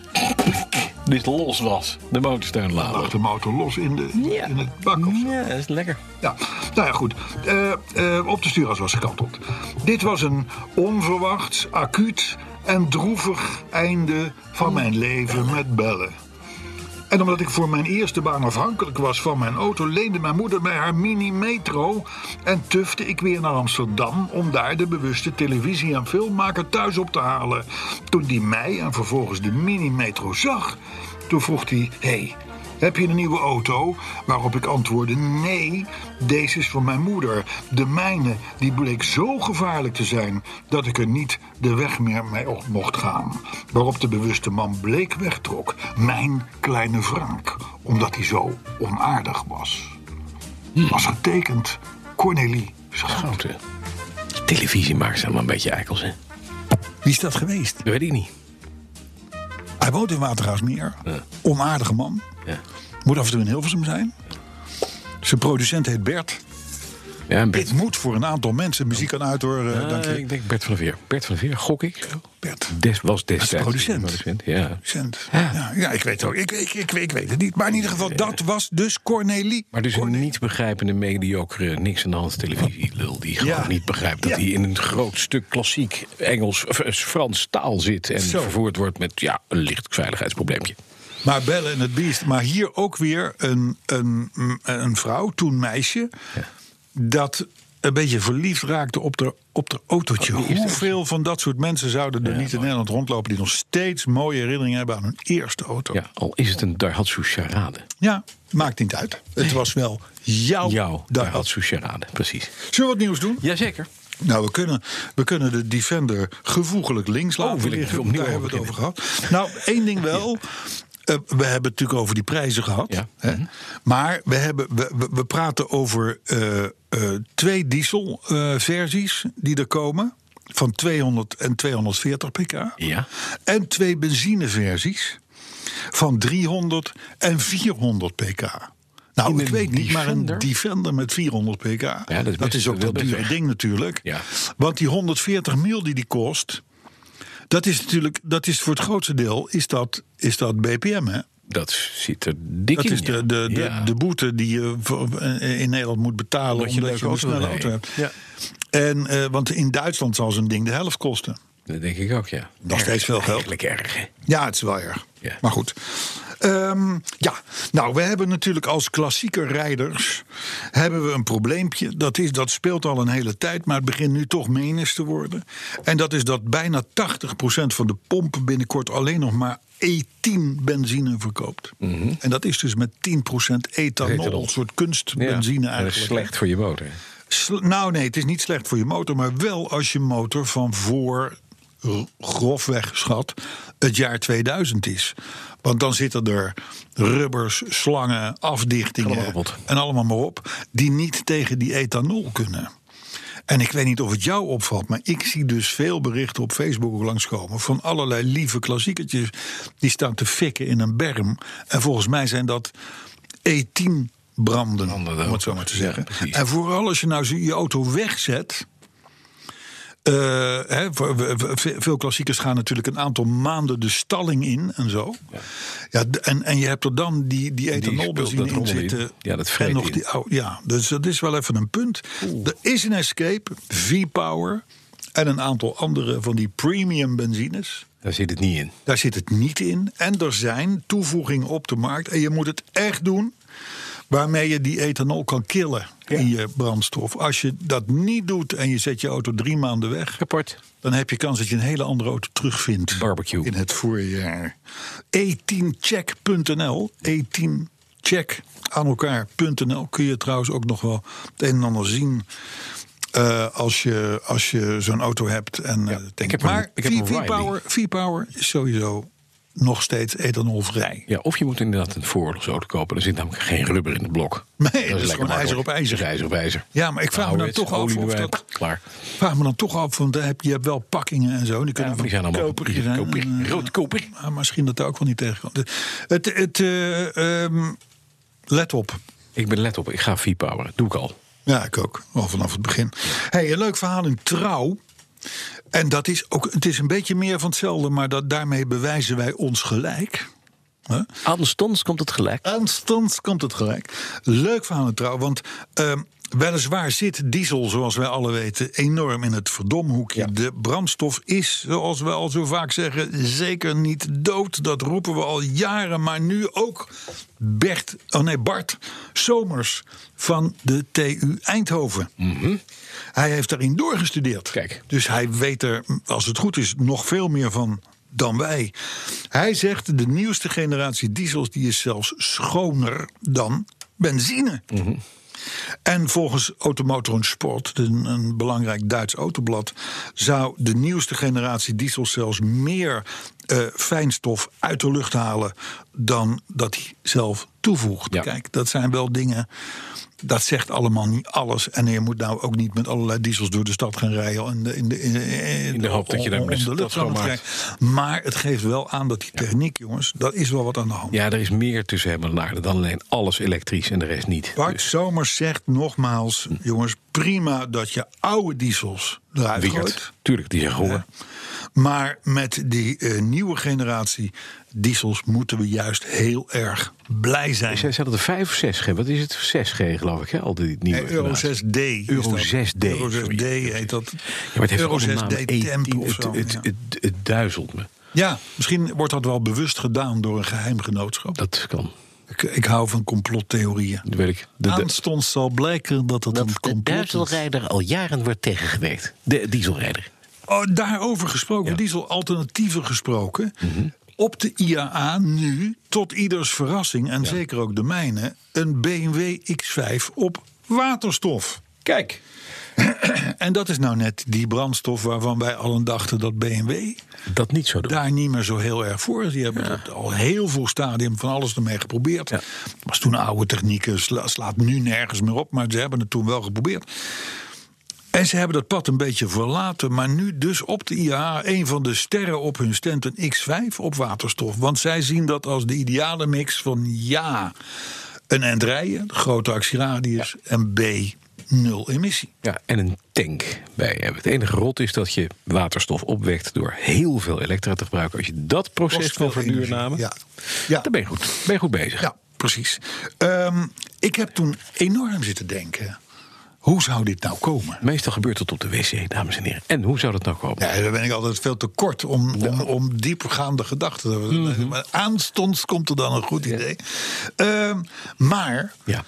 Speaker 2: Dit los was. De
Speaker 3: Lag
Speaker 2: motorsteunlader.
Speaker 3: de motor los in, de, in het bak of zo.
Speaker 2: Ja, dat is lekker.
Speaker 3: Ja, nou ja, goed. Eh, eh, op de stuurhuis was gekanteld. Dit was een onverwachts, acuut en droevig einde van mijn leven met bellen. En omdat ik voor mijn eerste baan afhankelijk was van mijn auto, leende mijn moeder mij haar mini-metro. En tufte ik weer naar Amsterdam om daar de bewuste televisie- en filmmaker thuis op te halen. Toen die mij en vervolgens de mini-metro zag, toen vroeg hij: hey, heb je een nieuwe auto? Waarop ik antwoordde: Nee, deze is van mijn moeder. De mijne, die bleek zo gevaarlijk te zijn dat ik er niet de weg meer mee op mocht gaan. Waarop de bewuste man bleek wegtrok. Mijn kleine Frank, omdat hij zo onaardig was. Was getekend Cornelie Hm. Schout.
Speaker 2: Goud, hè. Die Televisiemakers zijn wel een beetje eikels, hè?
Speaker 3: Wie is dat geweest?
Speaker 2: Dat weet ik niet.
Speaker 3: Hij woont in Watergaasmeer.
Speaker 2: Ja.
Speaker 3: Onaardige man.
Speaker 2: Ja,
Speaker 3: Moet af en toe in Hilversum zijn. Zijn producent heet Bert.
Speaker 2: ja en Bert.
Speaker 3: Dit moet voor een aantal mensen muziek aan uit hoor. eh,
Speaker 2: Ah,
Speaker 3: dank je.
Speaker 2: ik denk Bert van der Veer. Bert van der Veer, gok ik.
Speaker 3: Bert.
Speaker 2: Des, was destijds.
Speaker 3: Dat is de producent.
Speaker 2: Ja.
Speaker 3: Cent. Ja, ja, ik weet het ook. Ik, ik, ik, ik weet het niet. Maar in ieder geval, dat was dus Cornelie.
Speaker 2: Maar dus een niet begrijpende, mediocre, niks aan de hand televisielul... die gewoon
Speaker 3: Ja.
Speaker 2: niet begrijpt dat
Speaker 3: Ja.
Speaker 2: hij in een groot stuk klassiek Engels... of eh, Frans taal zit en
Speaker 3: Zo.
Speaker 2: vervoerd wordt met ja, een licht veiligheidsprobleempje.
Speaker 3: Maar Belle en het Beest. Maar hier ook weer een, een, een vrouw, toen meisje, dat een beetje verliefd raakte op de, op de autootje. Hoeveel van dat soort mensen zouden er niet in Nederland rondlopen... die nog steeds mooie herinneringen hebben aan hun eerste auto?
Speaker 2: Ja, al is het een Daihatsu charade.
Speaker 3: Ja, maakt niet uit. Het was wel jouw,
Speaker 2: Jouw
Speaker 3: dag.
Speaker 2: Daihatsu charade, precies.
Speaker 3: Zullen we wat nieuws doen?
Speaker 2: Jazeker.
Speaker 3: Nou, we kunnen, we kunnen de Defender gevoegelijk links laten
Speaker 2: Oh, wil ik
Speaker 3: liggen.
Speaker 2: opnieuw
Speaker 3: Daar hebben we het over
Speaker 2: beginnen.
Speaker 3: gehad. Nou, één ding wel. Eh, we hebben het natuurlijk over die prijzen gehad.
Speaker 2: Ja. Mhm.
Speaker 3: Hè? Maar we, hebben, we, we- we praten over eh, eh, twee dieselversies eh, die er komen. Van 200 en 240 pk.
Speaker 2: Ja.
Speaker 3: En twee benzineversies van 300 en 400 pk. Nou,
Speaker 2: In
Speaker 3: ik
Speaker 2: een
Speaker 3: weet niet, maar een
Speaker 2: Defender?
Speaker 3: Defender met 400 pk.
Speaker 2: dat is best
Speaker 3: ook
Speaker 2: wel
Speaker 3: dat dure
Speaker 2: weg.
Speaker 3: ding natuurlijk.
Speaker 2: Ja.
Speaker 3: Want die 140 mil die die kost, dat is natuurlijk, dat is voor het grootste deel, is dat, is dat BPM hè?
Speaker 2: Dat zit er dik
Speaker 3: Dat
Speaker 2: in.
Speaker 3: is de, de, de, de boete die je voor- eh, in Nederland moet betalen
Speaker 2: Omdat je
Speaker 3: omdat
Speaker 2: een
Speaker 3: je een
Speaker 2: leuke
Speaker 3: snelle
Speaker 2: auto
Speaker 3: auto
Speaker 2: wil
Speaker 3: hebt. En, eh, want in Duitsland zal zo'n ding de helft kosten.
Speaker 2: Dat denk ik ook, ja.
Speaker 3: Nog steeds veel geld.
Speaker 2: Eigenlijk erg, hè?
Speaker 3: Ja, het is wel erg.
Speaker 2: Ja.
Speaker 3: Maar goed. Ehm, ja, nou, we hebben natuurlijk als klassieke rijders hebben we een probleempje. Dat, is, dat speelt al een hele tijd, maar het begint nu toch menens te worden. En dat is dat bijna 80% van de pompen binnenkort alleen nog maar E10 benzine verkoopt. En dat is dus met 10% ethanol,
Speaker 2: Mhm. Ethanol.
Speaker 3: een soort kunstbenzine
Speaker 2: Ja, Dat is
Speaker 3: eigenlijk.
Speaker 2: slecht voor je motor.
Speaker 3: Sl- nou nee, het is niet slecht voor je motor, maar wel als je motor van voor r- grofweg schat het jaar 2000 is. Want dan zitten er rubbers, slangen, afdichtingen
Speaker 2: Allemaal kapot.
Speaker 3: en allemaal maar op die niet tegen die ethanol kunnen. En ik weet niet of het jou opvalt, maar ik zie dus veel berichten op Facebook ook langskomen van allerlei lieve klassieketjes die staan te fikken in een berm. En volgens mij zijn dat E10 branden,
Speaker 2: Branden,
Speaker 3: om het zo maar te
Speaker 2: ja,
Speaker 3: zeggen.
Speaker 2: precies.
Speaker 3: en vooral als je nou zo je auto wegzet. eh, hè, voor- we- we- ve- veel klassiekers gaan natuurlijk een aantal maanden de stalling in en zo. Ja. d- en, en je hebt er dan die, die ethanolbenzine
Speaker 2: speelt
Speaker 3: in
Speaker 2: dat rol in.
Speaker 3: zitten.
Speaker 2: Ja, dat vreet
Speaker 3: en nog
Speaker 2: in.
Speaker 3: die oude- ja, dus dat is wel even een punt. Er is een Escape, V-Power en een aantal andere van die premium benzines.
Speaker 2: Daar zit het niet in.
Speaker 3: Daar zit het niet in. En er zijn toevoegingen op de markt. En je moet het echt doen waarmee je die ethanol kan killen in je brandstof. Als je dat niet doet en je zet je auto drie maanden weg...
Speaker 2: Rapport.
Speaker 3: dan heb je kans dat je een hele andere auto terugvindt.
Speaker 2: Barbecue.
Speaker 3: In het voorjaar. E 18check.nl 18check aan elkaar.nl kun je trouwens ook nog wel het een en ander zien... eh, als je, als je zo'n auto hebt. En, eh, denk
Speaker 2: ik heb
Speaker 3: maar
Speaker 2: een- ik heb een Riley.
Speaker 3: V-Power V-Power is sowieso nog steeds ethanolvrij.
Speaker 2: Ja, of je moet inderdaad een vooroorlogsauto kopen. Er zit namelijk geen rubber in het blok.
Speaker 3: Nee, dat is
Speaker 2: lekker
Speaker 3: gewoon
Speaker 2: makkelijk. Dus
Speaker 3: ijzer op ijzer.
Speaker 2: Dat is ijzer op ijzer.
Speaker 3: Ja, maar ik vraag me dan
Speaker 2: Ouderwets,
Speaker 3: toch af
Speaker 2: olie
Speaker 3: of
Speaker 2: erbij,
Speaker 3: dat-
Speaker 2: Klaar.
Speaker 3: Vraag me dan toch af, want daar heb, je hebt wel pakkingen en zo. Die
Speaker 2: Ja,
Speaker 3: kunnen
Speaker 2: maar die zijn allemaal
Speaker 3: koper
Speaker 2: kopie,
Speaker 3: zijn.
Speaker 2: kopie,
Speaker 3: en, eh,
Speaker 2: rood kopie.
Speaker 3: Maar misschien dat daar ook wel niet tegen kan. Het, het, eh, ehm, let op.
Speaker 2: Ik ben let op, ik ga V-poweren. Doe ik al.
Speaker 3: Ja, ik ook. Al vanaf het begin. Hey, een leuk verhaal in Trouw. En dat is ook, het is een beetje meer van hetzelfde, maar dat, daarmee bewijzen wij ons gelijk.
Speaker 2: Aanstonds komt het gelijk.
Speaker 3: Aanstonds komt het gelijk. Leuk verhaal in Trouw, want ehm, weliswaar zit diesel, zoals wij alle weten, enorm in het verdomhoekje. De brandstof is, zoals we al zo vaak zeggen, zeker niet dood. Dat roepen we al jaren, maar nu ook Bert, oh nee, Bart Somers van de TU Eindhoven. Hij heeft daarin doorgestudeerd.
Speaker 2: Kijk.
Speaker 3: Dus hij weet er, als het goed is, nog veel meer van dan wij. Hij zegt de nieuwste generatie diesels die is zelfs schoner dan benzine. En volgens Automotor en Sport, een, een belangrijk Duits autoblad, zou de nieuwste generatie diesels zelfs meer eh, fijnstof uit de lucht halen dan dat hij zelf toevoegt.
Speaker 2: Ja.
Speaker 3: Kijk, dat zijn wel dingen. Dat zegt allemaal niet alles. En je moet nou ook niet met allerlei diesels door de stad gaan rijden. In de, in de, in, in-
Speaker 2: In de hoop dat je daar
Speaker 3: om- om
Speaker 2: met
Speaker 3: de
Speaker 2: z'n
Speaker 3: lucht
Speaker 2: stad
Speaker 3: aan het
Speaker 2: schoonmaakt.
Speaker 3: krijgen. Maar het geeft wel aan dat die techniek, jongens, dat is wel wat aan de hand.
Speaker 2: Ja, er is meer tussen hem en aarde dan alleen alles elektrisch en de rest niet.
Speaker 3: Bart Somers zegt nogmaals, jongens, prima dat je oude diesels eruit gooit.
Speaker 2: Wiegert, tuurlijk, die zeggen hoor.
Speaker 3: Maar met die eh, nieuwe generatie diesels moeten we juist heel erg blij zijn.
Speaker 2: Zij zetten er 5 of 6 G. Wat is het? 6G geloof ik, hè? Al die nieuwe
Speaker 3: Eh, Euro
Speaker 2: generatie.
Speaker 3: 6D. is
Speaker 2: Euro
Speaker 3: dat.
Speaker 2: 6D,
Speaker 3: Euro 6D
Speaker 2: sorry.
Speaker 3: heet dat.
Speaker 2: Ja, maar het heeft
Speaker 3: Euro
Speaker 2: ook een naam.
Speaker 3: 6D
Speaker 2: 18,
Speaker 3: tempo of
Speaker 2: het,
Speaker 3: zo.
Speaker 2: het,
Speaker 3: ja.
Speaker 2: het- het duizelt me.
Speaker 3: ja, misschien wordt dat wel bewust gedaan door een geheim genootschap.
Speaker 2: Dat kan.
Speaker 3: Ik, ik hou van complottheorieën.
Speaker 2: Dat weet ik. De, de,
Speaker 3: Aanstonds zal blijken dat het een
Speaker 6: Dat de
Speaker 3: complot is.
Speaker 6: duizelrijder al jaren wordt tegengewerkt. De dieselrijder.
Speaker 3: Oh, daarover gesproken, dieselalternatieven gesproken. Op de IAA nu, tot ieders verrassing en zeker ook de mijne, een BMW X5 op waterstof.
Speaker 2: kijk.
Speaker 3: En dat is nou net die brandstof waarvan wij allen dachten dat BMW
Speaker 2: Dat niet zo doen.
Speaker 3: daar niet meer zo heel erg voor is. Die hebben het al heel veel stadium van alles ermee geprobeerd.
Speaker 2: Ja.
Speaker 3: Was toen oude technieken, sla- slaat nu nergens meer op, maar ze hebben het toen wel geprobeerd. En ze hebben dat pad een beetje verlaten, maar nu dus op de IAA een van de sterren op hun stand een X5 op waterstof. Want zij zien dat als de ideale mix van ja, een end rijden, grote actieradius, en B, nul emissie.
Speaker 2: Ja, en een tank bij hebben. Het enige rot is dat je waterstof opwekt door heel veel elektra te gebruiken. Als je dat proces
Speaker 3: Kost
Speaker 2: kan
Speaker 3: veel energie,
Speaker 2: verduurzamen,
Speaker 3: ja. Ja.
Speaker 2: dan ben je goed, ben je goed bezig.
Speaker 3: Ja, precies. Ehm, ik heb toen enorm zitten denken. Hoe zou dit nou komen?
Speaker 2: Meestal gebeurt dat op de wc, dames en heren. En hoe zou dat nou komen?
Speaker 3: Ja, daar ben ik altijd veel te kort om, om, om diepgaande gedachten te hebben.
Speaker 2: Mhm.
Speaker 3: Maar aanstonds komt er dan een goed idee. Ehm, maar
Speaker 2: Ja.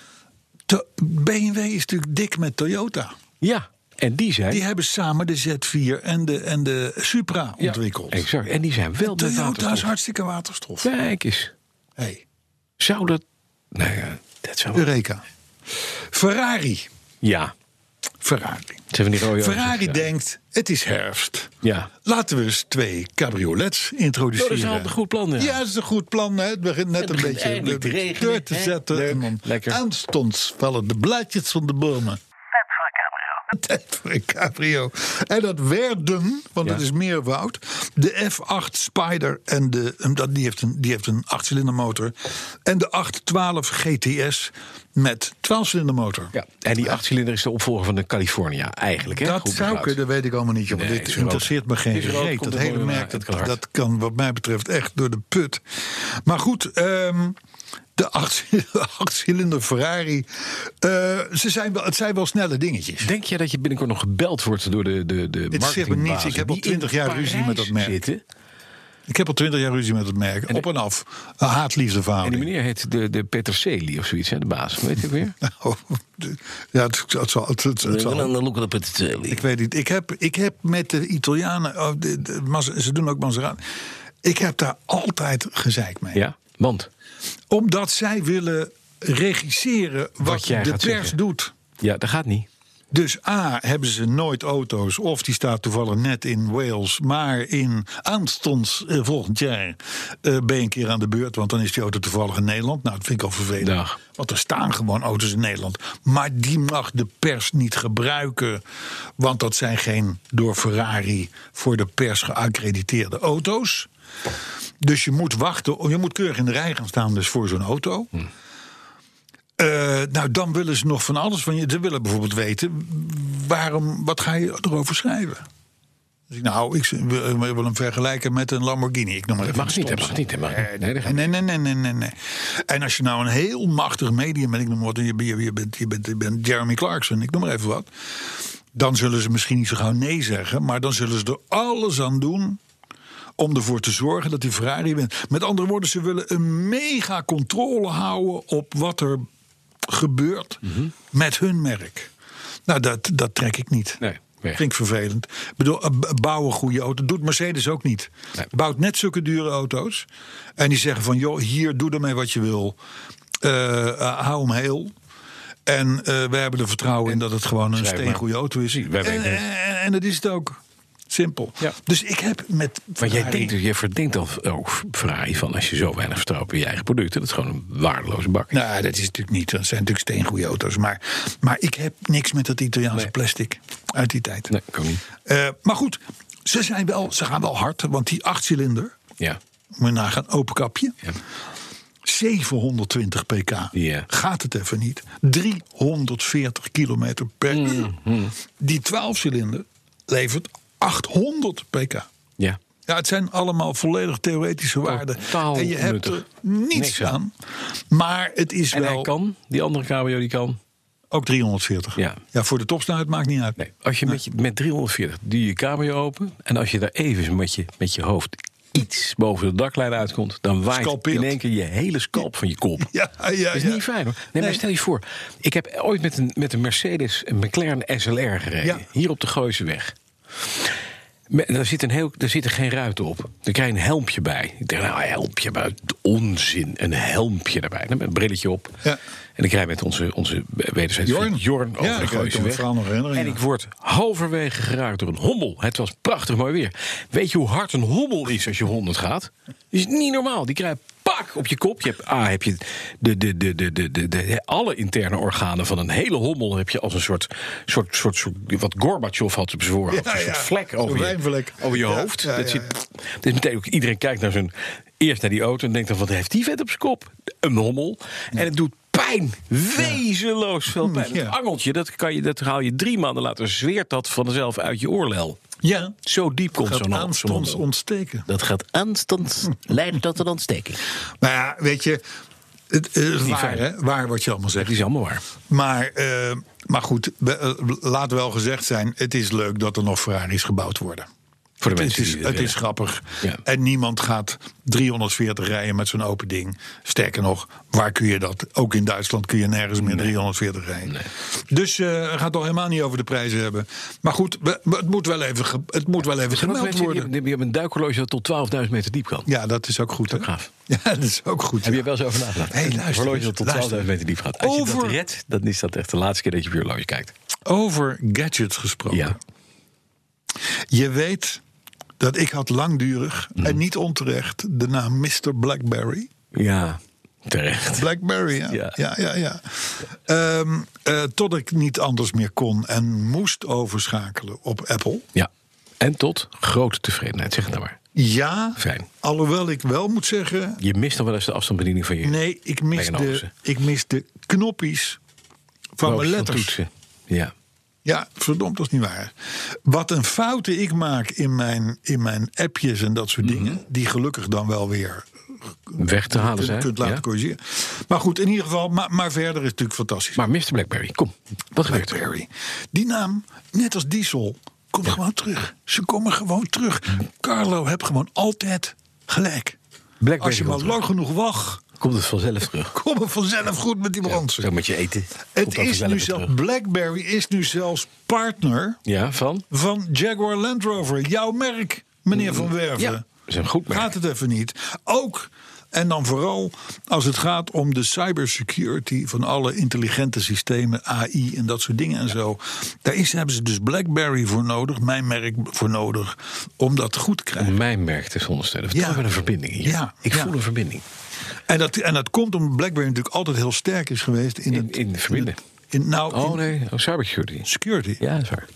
Speaker 3: to- BMW is natuurlijk dik met Toyota.
Speaker 2: Ja, en die zijn...
Speaker 3: Die hebben samen de Z4 en de, en de Supra
Speaker 2: Ja,
Speaker 3: ontwikkeld.
Speaker 2: Exact. En die zijn wel met
Speaker 3: Toyota is
Speaker 2: waterstof.
Speaker 3: hartstikke waterstof.
Speaker 2: Kijk eens.
Speaker 3: Hey,
Speaker 2: Zou dat... Nou ja, dat zou...
Speaker 3: Eureka. Ferrari.
Speaker 2: Ja.
Speaker 3: Ferrari.
Speaker 2: Ze hebben die rode
Speaker 3: Ferrari Oh,
Speaker 2: auto's, ja.
Speaker 3: denkt, het is herfst.
Speaker 2: Ja.
Speaker 3: Laten we eens twee cabriolets introduceren.
Speaker 2: Oh, dat is wel een goed plan, ja.
Speaker 3: dat is een goed plan. Hè. Het begint net een
Speaker 6: begint
Speaker 3: beetje de
Speaker 6: eindelijk te
Speaker 3: de
Speaker 6: regenen,
Speaker 3: deur te
Speaker 6: hè.
Speaker 3: zetten.
Speaker 2: Leuk,
Speaker 3: en dan
Speaker 2: lekker.
Speaker 3: aanstonds vallen de blaadjes van de bomen.
Speaker 4: Tijd voor een cabrio.
Speaker 3: Tijd voor een cabrio. En dat werden, want
Speaker 2: Ja.
Speaker 3: het is meer woud, de F8 Spider. En de, en dat, die, heeft een, die heeft een 8-cilinder motor. En de 812 GTS met 12-cilinder motor.
Speaker 2: ja. En die achtcilinder is de opvolger van de California, eigenlijk. Hè?
Speaker 3: Dat
Speaker 2: Goed
Speaker 3: zou
Speaker 2: besluit.
Speaker 3: kunnen, dat weet ik allemaal niet. joh, Want
Speaker 2: Nee,
Speaker 3: dit
Speaker 2: is rood.
Speaker 3: interesseert me geen
Speaker 2: Is rood,
Speaker 3: reet.
Speaker 2: komt
Speaker 3: Dat
Speaker 2: er
Speaker 3: hele
Speaker 2: mooi
Speaker 3: merk,
Speaker 2: uit,
Speaker 3: dat,
Speaker 2: het kan hard.
Speaker 3: dat kan wat mij betreft echt door de put. Maar goed, ehm, de acht- achtcilinder Ferrari. eh, ze zijn wel, het zijn wel snelle dingetjes.
Speaker 2: Denk jij dat je binnenkort nog gebeld wordt door de, de, de
Speaker 3: me
Speaker 2: marketingbazen
Speaker 3: niets. Ik heb al
Speaker 2: die in
Speaker 3: 20 jaar ruzie
Speaker 2: Parijs
Speaker 3: met dat merk. Oh,
Speaker 2: Zitten.
Speaker 3: Ik heb al twintig jaar ruzie met het merk. op en af. Een haatliefde
Speaker 2: En die
Speaker 3: verhouding.
Speaker 2: meneer heet de, de Peterselie of zoiets, hè, de baas. Weet je weer?
Speaker 3: Nou, de- ja, het, het zal- het- het- het zal-
Speaker 6: Dan look op het
Speaker 3: Ik weet niet. Ik heb, ik heb met de Italianen. oh, de- de- Mas- ze doen ook Maserati. Ik heb daar altijd gezeik mee.
Speaker 2: Ja, want.
Speaker 3: Omdat zij willen regisseren wat,
Speaker 2: Wat jij
Speaker 3: de
Speaker 2: gaat
Speaker 3: pers
Speaker 2: zeggen.
Speaker 3: doet.
Speaker 2: Ja, dat gaat niet.
Speaker 3: Dus A, hebben ze nooit auto's. Of die staat toevallig net in Wales. Maar in aanstonds eh, volgend jaar eh, ben je een keer aan de beurt. Want dan is die auto toevallig in Nederland. Nou, dat vind ik al vervelend.
Speaker 2: Dag.
Speaker 3: Want er staan gewoon auto's in Nederland. Maar die mag de pers niet gebruiken. Want dat zijn geen door Ferrari voor de pers geaccrediteerde auto's. Dus je moet wachten. Je moet keurig in de rij gaan staan dus voor zo'n auto. Eh, nou, dan willen ze nog van alles van je. Ze willen bijvoorbeeld weten, waarom, wat ga je erover schrijven? Dus ik, nou, ik z- wil, wil hem vergelijken met een Lamborghini. Ik noem maar
Speaker 2: Dat
Speaker 3: even
Speaker 2: mag
Speaker 3: iets
Speaker 2: niet, dat
Speaker 3: stoms.
Speaker 2: mag niet. Dat mag niet. Nee, dat gaat
Speaker 3: Nee, nee, nee, nee, nee, nee. En als je nou een heel machtig medium bent, ik noem maar wat, en je, bent- je, bent, je, bent, je bent Jeremy Clarkson, ik noem maar even wat. Dan zullen ze misschien niet zo gauw nee zeggen, maar dan zullen ze er alles aan doen om ervoor te zorgen dat die Ferrari wint. Met andere woorden, ze willen een mega controle houden op wat er gebeurt
Speaker 2: Mhm.
Speaker 3: met hun merk. Nou, dat, dat trek ik niet.
Speaker 2: Nee, weg.
Speaker 3: Vind ik vervelend. Ik bedoel, eh, b- bouw een goede auto. Doet Mercedes ook niet.
Speaker 2: Nee.
Speaker 3: Bouwt net zulke dure auto's. En die zeggen van, joh, hier, doe ermee wat je wil. Eh, eh, hou hem heel. En eh, wij hebben er vertrouwen in dat het gewoon een
Speaker 2: Schrijf maar.
Speaker 3: steengoede auto is.
Speaker 2: Zie,
Speaker 3: En,
Speaker 2: wij weten het.
Speaker 3: en, en dat is het ook. Simpel.
Speaker 2: Ja.
Speaker 3: Dus ik heb met
Speaker 2: Maar jij
Speaker 3: Ferrari-
Speaker 2: denkt, dus- jij verdenkt al ook Ferrari van als je zo weinig vertrouwt in je eigen producten. Dat is gewoon een waardeloze bak.
Speaker 3: Nou, dat is natuurlijk niet. Dat zijn natuurlijk steengoede auto's. Maar, maar ik heb niks met dat Italiaanse
Speaker 2: Nee.
Speaker 3: plastic uit die tijd.
Speaker 2: Nee, kan niet.
Speaker 3: Eh, maar goed, ze, zijn wel, ze gaan wel hard. Want die achtcilinder,
Speaker 2: Ja.
Speaker 3: moet je nagaan, open kapje.
Speaker 2: Ja.
Speaker 3: 720 pk.
Speaker 2: Ja.
Speaker 3: Gaat het even niet. 340 kilometer per
Speaker 2: Mm,
Speaker 3: uur. Die 12-cilinder levert 800 pk.
Speaker 2: Ja.
Speaker 3: Ja, het zijn allemaal volledig theoretische waarden.
Speaker 2: Totaal
Speaker 3: en je hebt
Speaker 2: nuttig.
Speaker 3: er niets
Speaker 2: Niks aan.
Speaker 3: aan. Maar het is
Speaker 2: En
Speaker 3: wel...
Speaker 2: hij kan, die andere cabrio die kan.
Speaker 3: Ook 340.
Speaker 2: Ja.
Speaker 3: ja voor de topsnelheid maakt niet uit.
Speaker 2: Nee, als je met, je- met 340 doe je je cabrio open. En als je daar even met je, met je hoofd iets boven de daklijn uitkomt. Dan waait
Speaker 3: Scalpeert.
Speaker 2: in één keer je hele scalp van je kop.
Speaker 3: Ja, ja, ja.
Speaker 2: Dat is niet fijn hoor. Nee, maar stel je voor. Ik heb ooit met een, met een Mercedes, een McLaren SLR gereden.
Speaker 3: Ja.
Speaker 2: Hier op de Gooiseweg. Me- Daar zit, een heel, daar zitten geen ruiten op. Daar krijg je een helmpje bij. Ik denk, nou, een helmpje bij. Onzin. Een helmpje daarbij. Dan met een brilletje op.
Speaker 3: Ja.
Speaker 2: En dan krijg je met onze, onze wederzijdse
Speaker 3: Jorn.
Speaker 2: vriend Jorn over
Speaker 3: Ja,
Speaker 2: de
Speaker 3: ik kan me het
Speaker 2: Gooiseweg.
Speaker 3: verhaal nog herinneren,
Speaker 2: En
Speaker 3: ja.
Speaker 2: ik word halverwege geraakt door een hommel. Het was prachtig mooi weer. Weet je hoe hard een hommel is als je 100 gaat? Dat is niet normaal. Die krijgt pak op je kop. Je hebt, ah, heb je de, de, de, de, de, de, de- alle interne organen van een hele hommel heb je als een soort, soort, soort, soort wat Gorbachev had bezworen.
Speaker 3: Ja,
Speaker 2: een soort
Speaker 3: ja.
Speaker 2: vlek
Speaker 3: Zo'n
Speaker 2: over je,
Speaker 3: wijnvlek.
Speaker 2: over je
Speaker 3: Ja,
Speaker 2: hoofd.
Speaker 3: ja,
Speaker 2: dat
Speaker 3: ja,
Speaker 2: zit,
Speaker 3: ja.
Speaker 2: dus meteen ook iedereen kijkt naar zijn, eerst naar die auto en denkt dan wat heeft die vet op zijn kop? Een hommel. En het doet pijn. Wezenloos veel pijn.
Speaker 3: Mm, Ja.
Speaker 2: Het angeltje, dat, kan je, dat haal je drie maanden later, zweert dat vanzelf uit je oorlel.
Speaker 3: Ja.
Speaker 2: Zo diep komt
Speaker 3: Gaat
Speaker 2: zo'n hal- zo'n
Speaker 3: aanstonds
Speaker 2: hommel.
Speaker 3: ontsteken.
Speaker 6: Dat gaat aanstonds leiden tot een ontsteking.
Speaker 3: Maar ja, weet je, het, het is waar,
Speaker 2: fijn.
Speaker 3: hè? waar wat je allemaal
Speaker 2: Het
Speaker 3: zegt.
Speaker 2: is allemaal waar.
Speaker 3: Maar, eh, maar goed, we- eh, laat wel gezegd zijn, het is leuk dat er nog Ferraris gebouwd worden.
Speaker 2: Voor de
Speaker 3: Het
Speaker 2: mensen
Speaker 3: is,
Speaker 2: die
Speaker 3: het is grappig.
Speaker 2: Ja.
Speaker 3: En niemand gaat 340 rijden met zo'n open ding. Sterker nog, waar kun je dat? Ook in Duitsland kun je nergens meer 340 rijden. Dus eh, het gaat al helemaal niet over de prijzen hebben. Maar goed, we- we- het moet wel even, ge- het moet wel even gemeld worden.
Speaker 2: Je hebt een duikhorloge dat tot 12.000 meter diep kan.
Speaker 3: Ja, dat is ook goed. hè?
Speaker 2: gaaf.
Speaker 3: Ja, dat is ook goed.
Speaker 2: Heb
Speaker 3: ja.
Speaker 2: je wel eens over nagedacht?
Speaker 3: Hey, luister
Speaker 2: Een horloge
Speaker 3: eens,
Speaker 2: dat tot
Speaker 3: luister.
Speaker 2: 12.000 meter diep gaat. Als je
Speaker 3: Over-
Speaker 2: dat redt, dan is dat echt de laatste keer dat je op je horloge kijkt.
Speaker 3: Over gadgets gesproken.
Speaker 2: Ja.
Speaker 3: Je weet dat ik had langdurig
Speaker 2: Hmm.
Speaker 3: en niet onterecht de naam Mr. Blackberry.
Speaker 2: Ja, terecht.
Speaker 3: Blackberry, ja.
Speaker 2: Ja.
Speaker 3: Ja, ja, ja. Ehm, eh, tot ik niet anders meer kon en moest overschakelen op Apple.
Speaker 2: Ja. En tot grote tevredenheid, zeg het nou maar.
Speaker 3: Ja,
Speaker 2: Fijn.
Speaker 3: alhoewel ik wel moet zeggen...
Speaker 2: Je mist dan wel eens de afstandsbediening van je.
Speaker 3: Nee, ik mis, de,
Speaker 2: Tegenover
Speaker 3: ik mis de knoppies van mijn
Speaker 2: Roos
Speaker 3: letters.
Speaker 2: toetsen. Ja.
Speaker 3: Ja, verdomd, dat is niet waar. Wat een fouten ik maak in mijn, in mijn appjes en dat soort
Speaker 2: Hmm.
Speaker 3: dingen... die gelukkig dan wel weer
Speaker 2: Weg te halen zijn.
Speaker 3: kunt, kunt laten
Speaker 2: ja.
Speaker 3: corrigeren. Maar goed, in ieder geval, maar, maar verder is het natuurlijk fantastisch.
Speaker 2: Maar Mr. Blackberry, kom. Wat gebeurt er?
Speaker 3: Blackberry. Die naam, net als Diesel, komt gewoon terug. Ze komen gewoon terug. Carlo heb gewoon altijd gelijk.
Speaker 2: Blackberry
Speaker 3: Als je maar
Speaker 2: komt terug.
Speaker 3: lang genoeg wacht,
Speaker 2: Komt het vanzelf terug?
Speaker 3: komen vanzelf goed met die bransen.
Speaker 2: Zo met je eten.
Speaker 3: het
Speaker 2: Komt dat
Speaker 3: is
Speaker 2: vanzelf
Speaker 3: nu
Speaker 2: weer
Speaker 3: zelfs,
Speaker 2: terug?
Speaker 3: Blackberry is nu zelfs partner
Speaker 2: Ja, van?
Speaker 3: van Jaguar Land Rover. Jouw merk, meneer Van Werven.
Speaker 2: Ja, dat Mm. is een goed merk.
Speaker 3: Gaat het even niet. Ook En dan vooral als het gaat om de cybersecurity van alle intelligente systemen, AI en dat soort dingen en zo. Daar is, hebben ze dus BlackBerry voor nodig, mijn merk voor nodig, om dat goed te krijgen.
Speaker 2: Mijn merk te ondersteunen. We
Speaker 3: Ja.
Speaker 2: hebben een verbinding hier.
Speaker 3: Ja,
Speaker 2: Ik
Speaker 3: ja.
Speaker 2: voel een verbinding.
Speaker 3: En dat, en dat komt omdat BlackBerry natuurlijk altijd heel sterk is geweest in,
Speaker 2: In-
Speaker 3: het,
Speaker 2: in verbinden.
Speaker 3: In, nou,
Speaker 2: Oh
Speaker 3: in
Speaker 2: nee, oh, cybersecurity.
Speaker 3: security.
Speaker 2: Ja, dat is waar.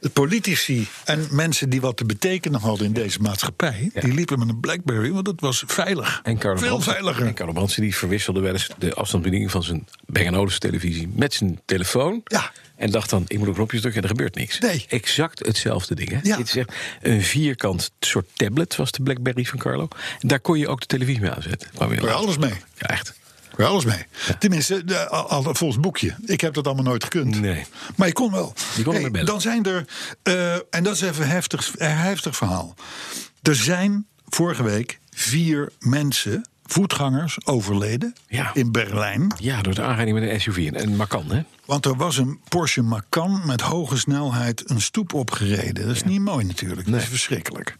Speaker 3: De politici en mensen die wat te betekenen hadden in deze maatschappij, die liepen met een Blackberry, want dat was veilig.
Speaker 2: En Carlo
Speaker 3: Veel
Speaker 2: Brandsen-
Speaker 3: veiliger.
Speaker 2: En Carlo Brandsen die verwisselde wel eens de afstandsbediening van zijn Bang Olufsen televisie met zijn telefoon.
Speaker 3: Ja.
Speaker 2: En dacht dan, ik moet op knopjes drukken en er gebeurt niks.
Speaker 3: Nee.
Speaker 2: Exact hetzelfde ding. Hè?
Speaker 3: Ja.
Speaker 2: Dit is echt een vierkant soort tablet was de Blackberry van Carlo. En daar kon je ook de televisie mee aanzetten. Kwam je
Speaker 3: Kon je alles mee.
Speaker 2: Ja, echt.
Speaker 3: Kon je alles mee. Tenminste, de, al, al- volgens het boekje. Ik heb dat allemaal nooit gekund.
Speaker 2: Nee.
Speaker 3: Maar je kon wel.
Speaker 2: Je kon ermee bellen.
Speaker 3: dan zijn er, eh, en dat is even een heftig, een heftig verhaal. Er zijn vorige week vier mensen, voetgangers, overleden
Speaker 2: Ja.
Speaker 3: in Berlijn.
Speaker 2: Ja, door de aanrijding met een SUV. En, en Macan, hè?
Speaker 3: Want er was een Porsche Macan met hoge snelheid een stoep opgereden. Dat is niet mooi natuurlijk. Dat is verschrikkelijk.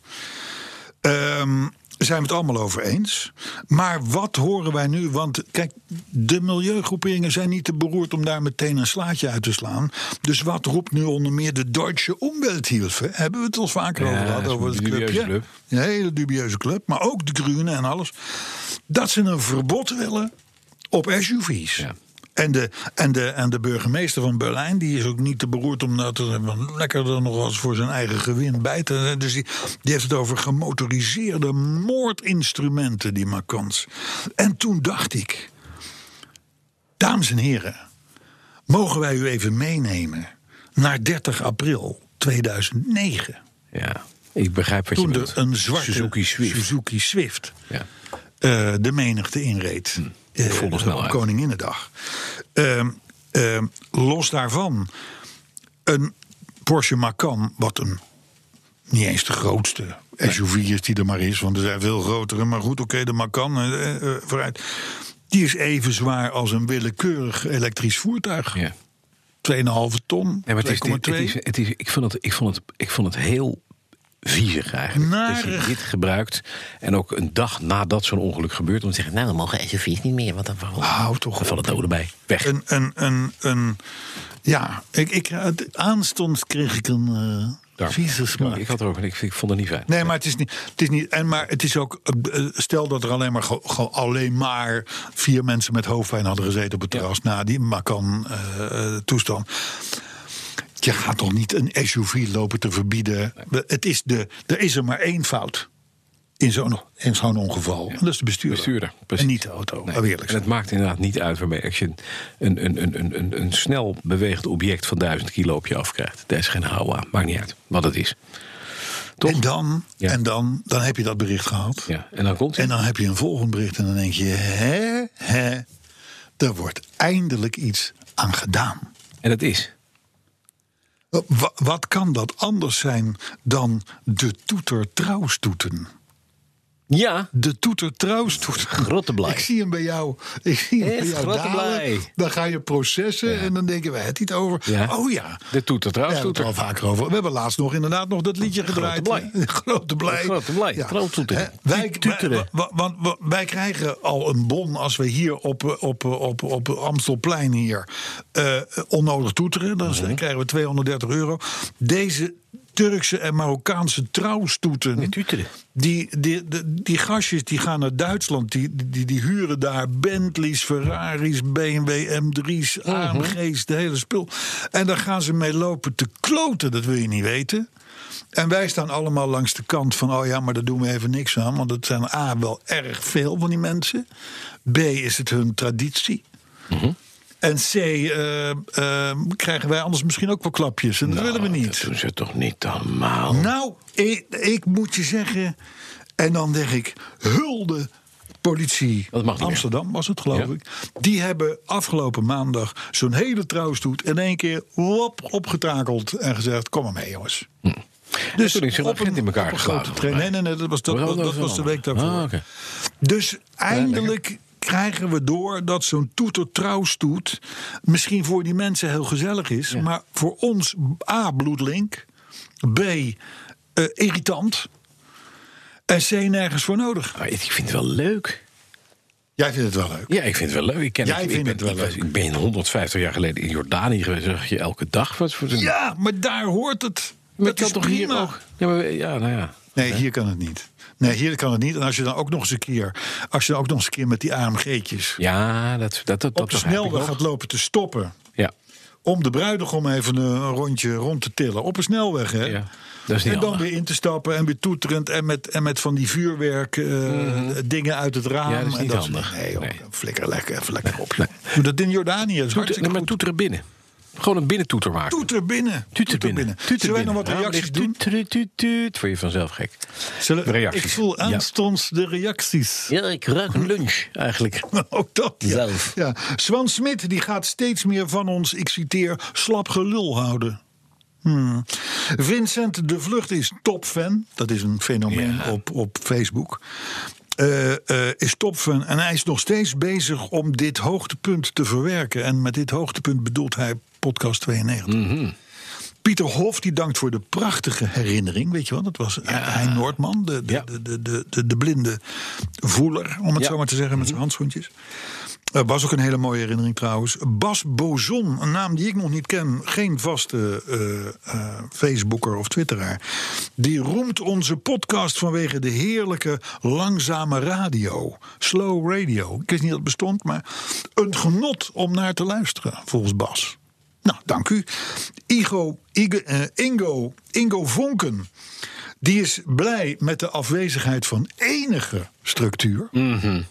Speaker 3: Ehm, zijn we het allemaal over eens. Maar wat horen wij nu? Want kijk, de milieugroeperingen zijn niet te beroerd om daar meteen een slaatje uit te slaan. Dus wat roept nu onder meer de Duitse Umwelthilfe? Hebben we het al vaker
Speaker 2: Ja,
Speaker 3: over gehad?
Speaker 2: dat is
Speaker 3: Over
Speaker 2: een
Speaker 3: het
Speaker 2: dubieuze
Speaker 3: clubje.
Speaker 2: club.
Speaker 3: Een hele dubieuze club. Maar ook de Groenen en alles. Dat ze een verbod willen op SUV's.
Speaker 2: Ja.
Speaker 3: En de, en, de, en de burgemeester van Berlijn, die is ook niet te beroerd om dat te zeggen, lekker er nog eens voor zijn eigen gewin bij te. Dus die, die heeft het over gemotoriseerde moordinstrumenten, die Macans. En toen dacht ik, dames en heren, mogen wij u even meenemen naar 30 april 2009.
Speaker 2: Ja. Ik begrijp wat
Speaker 3: Toen
Speaker 2: je
Speaker 3: er
Speaker 2: bedoelt.
Speaker 3: een zwarte
Speaker 2: Suzuki Swift.
Speaker 3: Suzuki Swift
Speaker 2: Ja.
Speaker 3: eh, de menigte inreed.
Speaker 2: Hm,
Speaker 3: Eh,
Speaker 2: volle
Speaker 3: op
Speaker 2: snelheid.
Speaker 3: Koninginnedag. Ehm, ehm, los daarvan, een Porsche Macan, wat een niet eens de grootste SUV is die er maar is, want er zijn veel grotere. Maar goed, oké, de Macan eh, eh, vooruit. Die is even zwaar als een willekeurig elektrisch voertuig.
Speaker 2: ja.
Speaker 3: 2,5 ton,
Speaker 2: Ja, maar het is, dit-
Speaker 3: 2,2.
Speaker 2: het is, het is, ik, vond het, ik, vond het, ik vond het heel viezig eigenlijk. Dat
Speaker 3: Narig.
Speaker 2: je dit gebruikt. En ook een dag nadat zo'n ongeluk gebeurt. Om te zeggen, nou dan mogen SUV's niet meer. Want dan vallen,
Speaker 3: Hou toch
Speaker 2: dan vallen doden bij. Weg.
Speaker 3: Een, een, een, een, ja, ik, ik, het- aanstonds kreeg ik een eh
Speaker 2: Daar.
Speaker 3: vieze smaak.
Speaker 2: Ik had er ook, ik, ik vond het niet fijn.
Speaker 3: Nee, maar het is niet. Het is niet en maar het is ook. eh, eh, Stel dat er alleen maar, ge- ge- alleen maar vier mensen met hoofdpijn hadden gezeten op het terras na die Macan eh, eh, toestand. Je gaat toch niet een SUV lopen te verbieden? Het is de, er is er maar één fout. In zo'n, in zo'n ongeval. En dat is de bestuurder.
Speaker 2: Bestuurder, precies.
Speaker 3: En niet de auto.
Speaker 2: Nee.
Speaker 3: laten we eerlijk
Speaker 2: en het
Speaker 3: zijn.
Speaker 2: maakt inderdaad niet uit waarmee als je een, een, een, een, een, een, een snel beweegd object van 1000 kilo op je afkrijgt. Daar is geen hou aan. Maakt niet uit wat het is. Toch?
Speaker 3: En dan,
Speaker 2: Ja.
Speaker 3: en dan, dan heb je dat bericht gehad.
Speaker 2: Ja, en dan komt
Speaker 3: En
Speaker 2: het.
Speaker 3: dan heb je een volgend bericht en dan denk je: hè, hè, er wordt eindelijk iets aan gedaan.
Speaker 2: En dat is.
Speaker 3: Wa- Wat kan dat anders zijn dan de toeter trouwstoeten?
Speaker 2: Ja,
Speaker 3: De toeter trouwstoeten.
Speaker 2: grote blij.
Speaker 3: Ik zie hem bij jou. Ik zie hem bij
Speaker 2: Echt,
Speaker 3: jou
Speaker 2: grote
Speaker 3: dalen.
Speaker 2: blij.
Speaker 3: Dan ga je processen en dan denken we het niet over.
Speaker 2: Ja.
Speaker 3: Oh ja.
Speaker 2: De toeter
Speaker 3: We hebben het
Speaker 2: trouwstoeter.
Speaker 3: er al vaker over. We hebben laatst nog inderdaad nog dat liedje gedraaid.
Speaker 2: blij.
Speaker 3: hè? Grote blij.
Speaker 2: Grote blij, trouwtoeter.
Speaker 3: Hè, Wij,
Speaker 2: Toet- toeteren.
Speaker 3: wij- wa- want wa- wij krijgen al een bon als we hier op, eh, op, eh, op, op Amstelplein hier eh, onnodig toeteren. Dan
Speaker 2: Mhm.
Speaker 3: is- krijgen we 230 euro. Deze Turkse en Marokkaanse trouwstoeten.
Speaker 2: toeteren.
Speaker 3: Die, die, die, die gastjes die gaan naar Duitsland. Die, die, die huren daar Bentleys, Ferraris, BMW M3's,
Speaker 2: Mhm.
Speaker 3: AMG's, de hele spul. En daar gaan ze mee lopen te kloten, dat wil je niet weten. En wij staan allemaal langs de kant van: oh ja, maar daar doen we even niks aan. Want het zijn A, wel erg veel van die mensen. B, is het hun traditie. En C, eh, eh, krijgen wij anders misschien ook wel klapjes. En dat willen we niet.
Speaker 2: Nou, Dat doen ze toch niet allemaal?
Speaker 3: Nou, ik, ik moet je zeggen. En dan denk ik, hulde politie
Speaker 2: Dat mag niet
Speaker 3: Amsterdam was het, geloof
Speaker 2: Ja.
Speaker 3: ik. Die hebben afgelopen maandag zo'n hele trouwstoet in één keer wop, opgetakeld en gezegd: kom maar mee, jongens.
Speaker 2: Dus toen is er een agent in elkaar
Speaker 3: op een
Speaker 2: geslagen.
Speaker 3: grote trein. Nee, nee, nee, dat was, dat,
Speaker 2: Oh,
Speaker 3: dat,
Speaker 2: dat
Speaker 3: dat
Speaker 2: is
Speaker 3: was de
Speaker 2: een
Speaker 3: week
Speaker 2: ander.
Speaker 3: daarvoor.
Speaker 2: Ah, oké.
Speaker 3: Dus eindelijk krijgen we door dat zo'n toeter trouwstoet misschien voor die mensen heel gezellig is, maar voor ons A bloedlink, B eh, irritant en C nergens voor nodig.
Speaker 2: Maar ik vind het wel leuk.
Speaker 3: Jij vindt het wel leuk.
Speaker 2: Ja, ik vind het wel leuk. Ik ken
Speaker 3: Jij
Speaker 2: ik, ik
Speaker 3: vindt
Speaker 2: ben,
Speaker 3: het wel
Speaker 2: ik was-
Speaker 3: leuk.
Speaker 2: Ik ben 150 jaar geleden in Jordanië geweest. Zag je elke dag wat voor een.
Speaker 3: Ja, maar daar hoort het.
Speaker 2: maar
Speaker 3: dat
Speaker 2: kan
Speaker 3: is
Speaker 2: toch
Speaker 3: prima.
Speaker 2: hier ook? Ja, maar, we- ja, nou ja.
Speaker 3: Nee, hier kan het niet. Nee, hier kan het niet. En als je dan ook nog eens een keer, als je dan ook nog eens een keer met die AMG'tjes
Speaker 2: Ja, dat, dat, dat, dat
Speaker 3: op de
Speaker 2: begrijp ik
Speaker 3: snelweg
Speaker 2: nog.
Speaker 3: gaat lopen te stoppen.
Speaker 2: Ja,
Speaker 3: Om de bruidegom even een rondje rond te tillen. Op een snelweg, hè?
Speaker 2: ja, dat is niet
Speaker 3: En dan
Speaker 2: handig.
Speaker 3: weer in te stappen en weer toeterend en met, en met van die vuurwerk eh, dingen uit het raam.
Speaker 2: Mhm. Ja, dat is
Speaker 3: en
Speaker 2: niet
Speaker 3: soort-
Speaker 2: handig.
Speaker 3: Nee, joh,
Speaker 2: Nee.
Speaker 3: flikker lekker, even lekker op. joh. Doe dat in Jordanië, dat is
Speaker 2: Toeter, nee,
Speaker 3: hartstikke
Speaker 2: maar
Speaker 3: goed.
Speaker 2: toeteren binnen. Gewoon een binnentoeter maken.
Speaker 3: Toeter binnen.
Speaker 2: Tuter binnen. Nou,
Speaker 3: Zullen wij nog wat reacties doen? Nou.
Speaker 2: Tuut, tuut, tuut. Voor je vanzelf gek.
Speaker 3: Zullen,
Speaker 2: Reacties.
Speaker 3: Ik voel
Speaker 2: Ja.
Speaker 3: aanstonds de reacties.
Speaker 6: Ja, ik ruik een lunch eigenlijk.
Speaker 3: Ook dat. Ja.
Speaker 6: Zelf.
Speaker 3: Ja. Swan Smit die gaat steeds meer van ons, ik citeer, slap gelul houden. Hmm. Vincent de Vlucht is topfan. Dat is een fenomeen op, op Facebook. Eh, eh, is topfan. En hij is nog steeds bezig om dit hoogtepunt te verwerken. En met dit hoogtepunt bedoelt hij podcast 92. Pieter Hof die dankt voor de prachtige herinnering. Weet je wel, dat was Hein Noordman, de, de,
Speaker 2: Ja.
Speaker 3: de, de, de, de, de blinde voeler, om het
Speaker 2: Ja. Mhm.
Speaker 3: zo maar te zeggen, met zijn handschoentjes. Eh, was ook een hele mooie herinnering trouwens. Bas Bozon, een naam die ik nog niet ken. Geen vaste eh, eh, Facebooker of Twitteraar. Die roemt onze podcast vanwege de heerlijke langzame radio. Slow radio. Ik wist niet dat het bestond, maar een genot om naar te luisteren, volgens Bas. Nou, dank u. Igo, Ige- eh, Ingo, Ingo Vonken. Die is blij met de afwezigheid van enige structuur.
Speaker 2: Mm.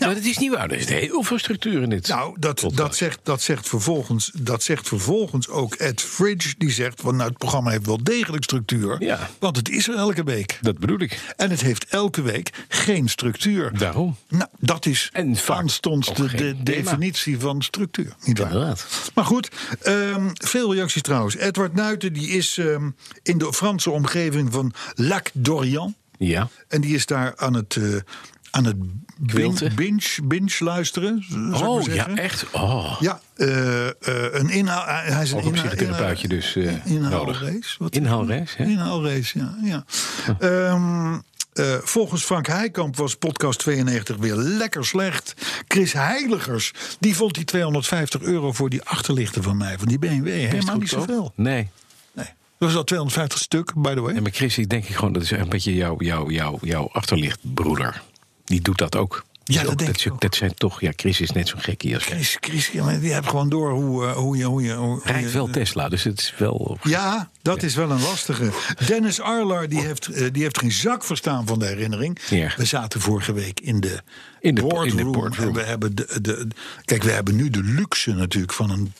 Speaker 2: Maar dat is niet waar. Er is heel veel structuur in dit.
Speaker 3: Nou, dat,
Speaker 2: podcast.
Speaker 3: dat, zegt, dat, zegt vervolgens, dat zegt vervolgens ook Ed Fridge. Die zegt, van, nou, het programma heeft wel degelijk structuur.
Speaker 2: Ja.
Speaker 3: Want het is er elke week.
Speaker 2: Dat bedoel ik.
Speaker 3: En het heeft elke week geen structuur.
Speaker 2: Daarom.
Speaker 3: Nou, dat is
Speaker 2: En vaak
Speaker 3: aanstonds
Speaker 2: ook
Speaker 3: de,
Speaker 2: geen
Speaker 3: de
Speaker 2: thema.
Speaker 3: definitie van structuur. Niet waar?
Speaker 6: Inderdaad.
Speaker 3: Maar goed, ehm, veel reacties trouwens. Edward Nuiten die is ehm, in de Franse omgeving van Lac d'Orient.
Speaker 2: Ja.
Speaker 3: En die is daar aan het, eh, aan het binge,
Speaker 2: Quilten.
Speaker 3: binge, binge luisteren. zou ik maar
Speaker 2: Oh, ja,
Speaker 3: zeggen.
Speaker 2: echt. Oh.
Speaker 3: Ja, eh, eh, een inhaal. Hij is een
Speaker 2: Ook een
Speaker 3: inhaal-
Speaker 2: psychotherapeutje dus eh,
Speaker 3: inhaal-
Speaker 2: nodig.
Speaker 3: Inhaalrace. Wat-
Speaker 2: Inhaalreis, hè?
Speaker 3: Inhaalrace, ja. ja. Ehm, eh, volgens Frank Heikamp was podcast 92 weer lekker slecht. Chris Heiligers, die vond die 250 euro voor die achterlichten van mij, van die BMW, helemaal niet
Speaker 2: Goedkoop?
Speaker 3: zoveel.
Speaker 2: Nee.
Speaker 3: Nee. Dat was al 250 stuk, by the way.
Speaker 2: En maar Chris, ik denk ik gewoon, dat is echt een beetje jouw jou, jou, jou achterlichtbroeder. Die doet dat ook. Die
Speaker 3: Ja,
Speaker 2: is
Speaker 3: dat denk
Speaker 2: is
Speaker 3: ik ook.
Speaker 2: Dat zijn toch, ja, Chris is net zo'n gekkie als jij.
Speaker 3: Chris, Chris, ja, maar die heeft gewoon door hoe, eh, hoe je... Hoe je hoe, hoe
Speaker 2: Rijdt
Speaker 3: je-
Speaker 2: wel Tesla, dus het is wel...
Speaker 3: Ja, dat is wel een lastige. Dennis Arlar die heeft, eh, die heeft geen zak verstaan van de herinnering.
Speaker 2: Ja.
Speaker 3: We zaten vorige week in de,
Speaker 2: In de- in de
Speaker 3: boardroom.
Speaker 2: boardroom.
Speaker 3: En we hebben de, de, kijk, we hebben nu de luxe natuurlijk van een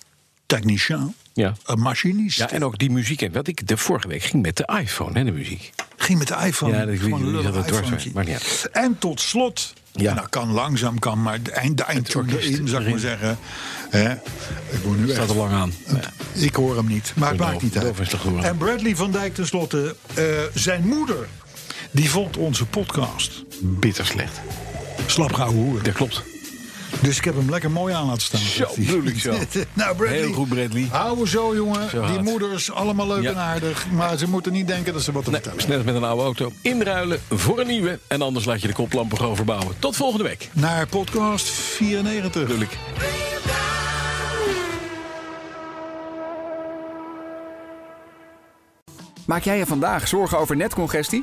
Speaker 3: technicien.
Speaker 2: Ja.
Speaker 3: Een machinist.
Speaker 2: Ja, en ook die muziek. En wat ik de vorige week ging met de iPhone, hè, de muziek.
Speaker 3: Ging met de iPhone.
Speaker 2: Ja, dat weet
Speaker 3: Gewoon
Speaker 2: ik niet.
Speaker 3: een
Speaker 2: Die
Speaker 3: lullig
Speaker 2: zat er dwars
Speaker 3: iPhonetje.
Speaker 2: bij. Maakt niet
Speaker 3: En tot slot.
Speaker 2: Ja.
Speaker 3: Ja. Nou, kan langzaam, kan maar de eind, de eindtune
Speaker 2: orkest
Speaker 3: erin, zou ik maar zeggen. Hè? Ik moet nu
Speaker 2: Staat
Speaker 3: echt-
Speaker 2: er lang aan. Ja.
Speaker 3: Ik hoor hem niet, maar het
Speaker 2: Beloof-
Speaker 3: maakt niet uit.
Speaker 2: beloof is te horen.
Speaker 3: En Bradley van Dijk tenslotte, eh zijn moeder, die vond onze podcast
Speaker 2: Bitter slecht.
Speaker 3: slap gauw hoer.
Speaker 2: Dat klopt.
Speaker 3: Dus ik heb hem lekker mooi aan laten staan.
Speaker 2: Zo, bedoel ik zo.
Speaker 3: nou, Bradley.
Speaker 2: Heel goed, Bradley.
Speaker 3: Hou zo, jongen.
Speaker 2: Zo
Speaker 3: die
Speaker 2: hard.
Speaker 3: moeders, allemaal leuk
Speaker 2: Ja.
Speaker 3: en aardig. Maar ze moeten niet denken dat ze wat te
Speaker 2: Nee,
Speaker 3: vertellen
Speaker 2: is net als met een oude auto. Inruilen voor een nieuwe. En anders laat je de koplampen gewoon verbouwen. Tot volgende week.
Speaker 3: hebben. Naar podcast 94.
Speaker 2: Bedoel ik.
Speaker 7: Maak jij je vandaag zorgen over netcongestie?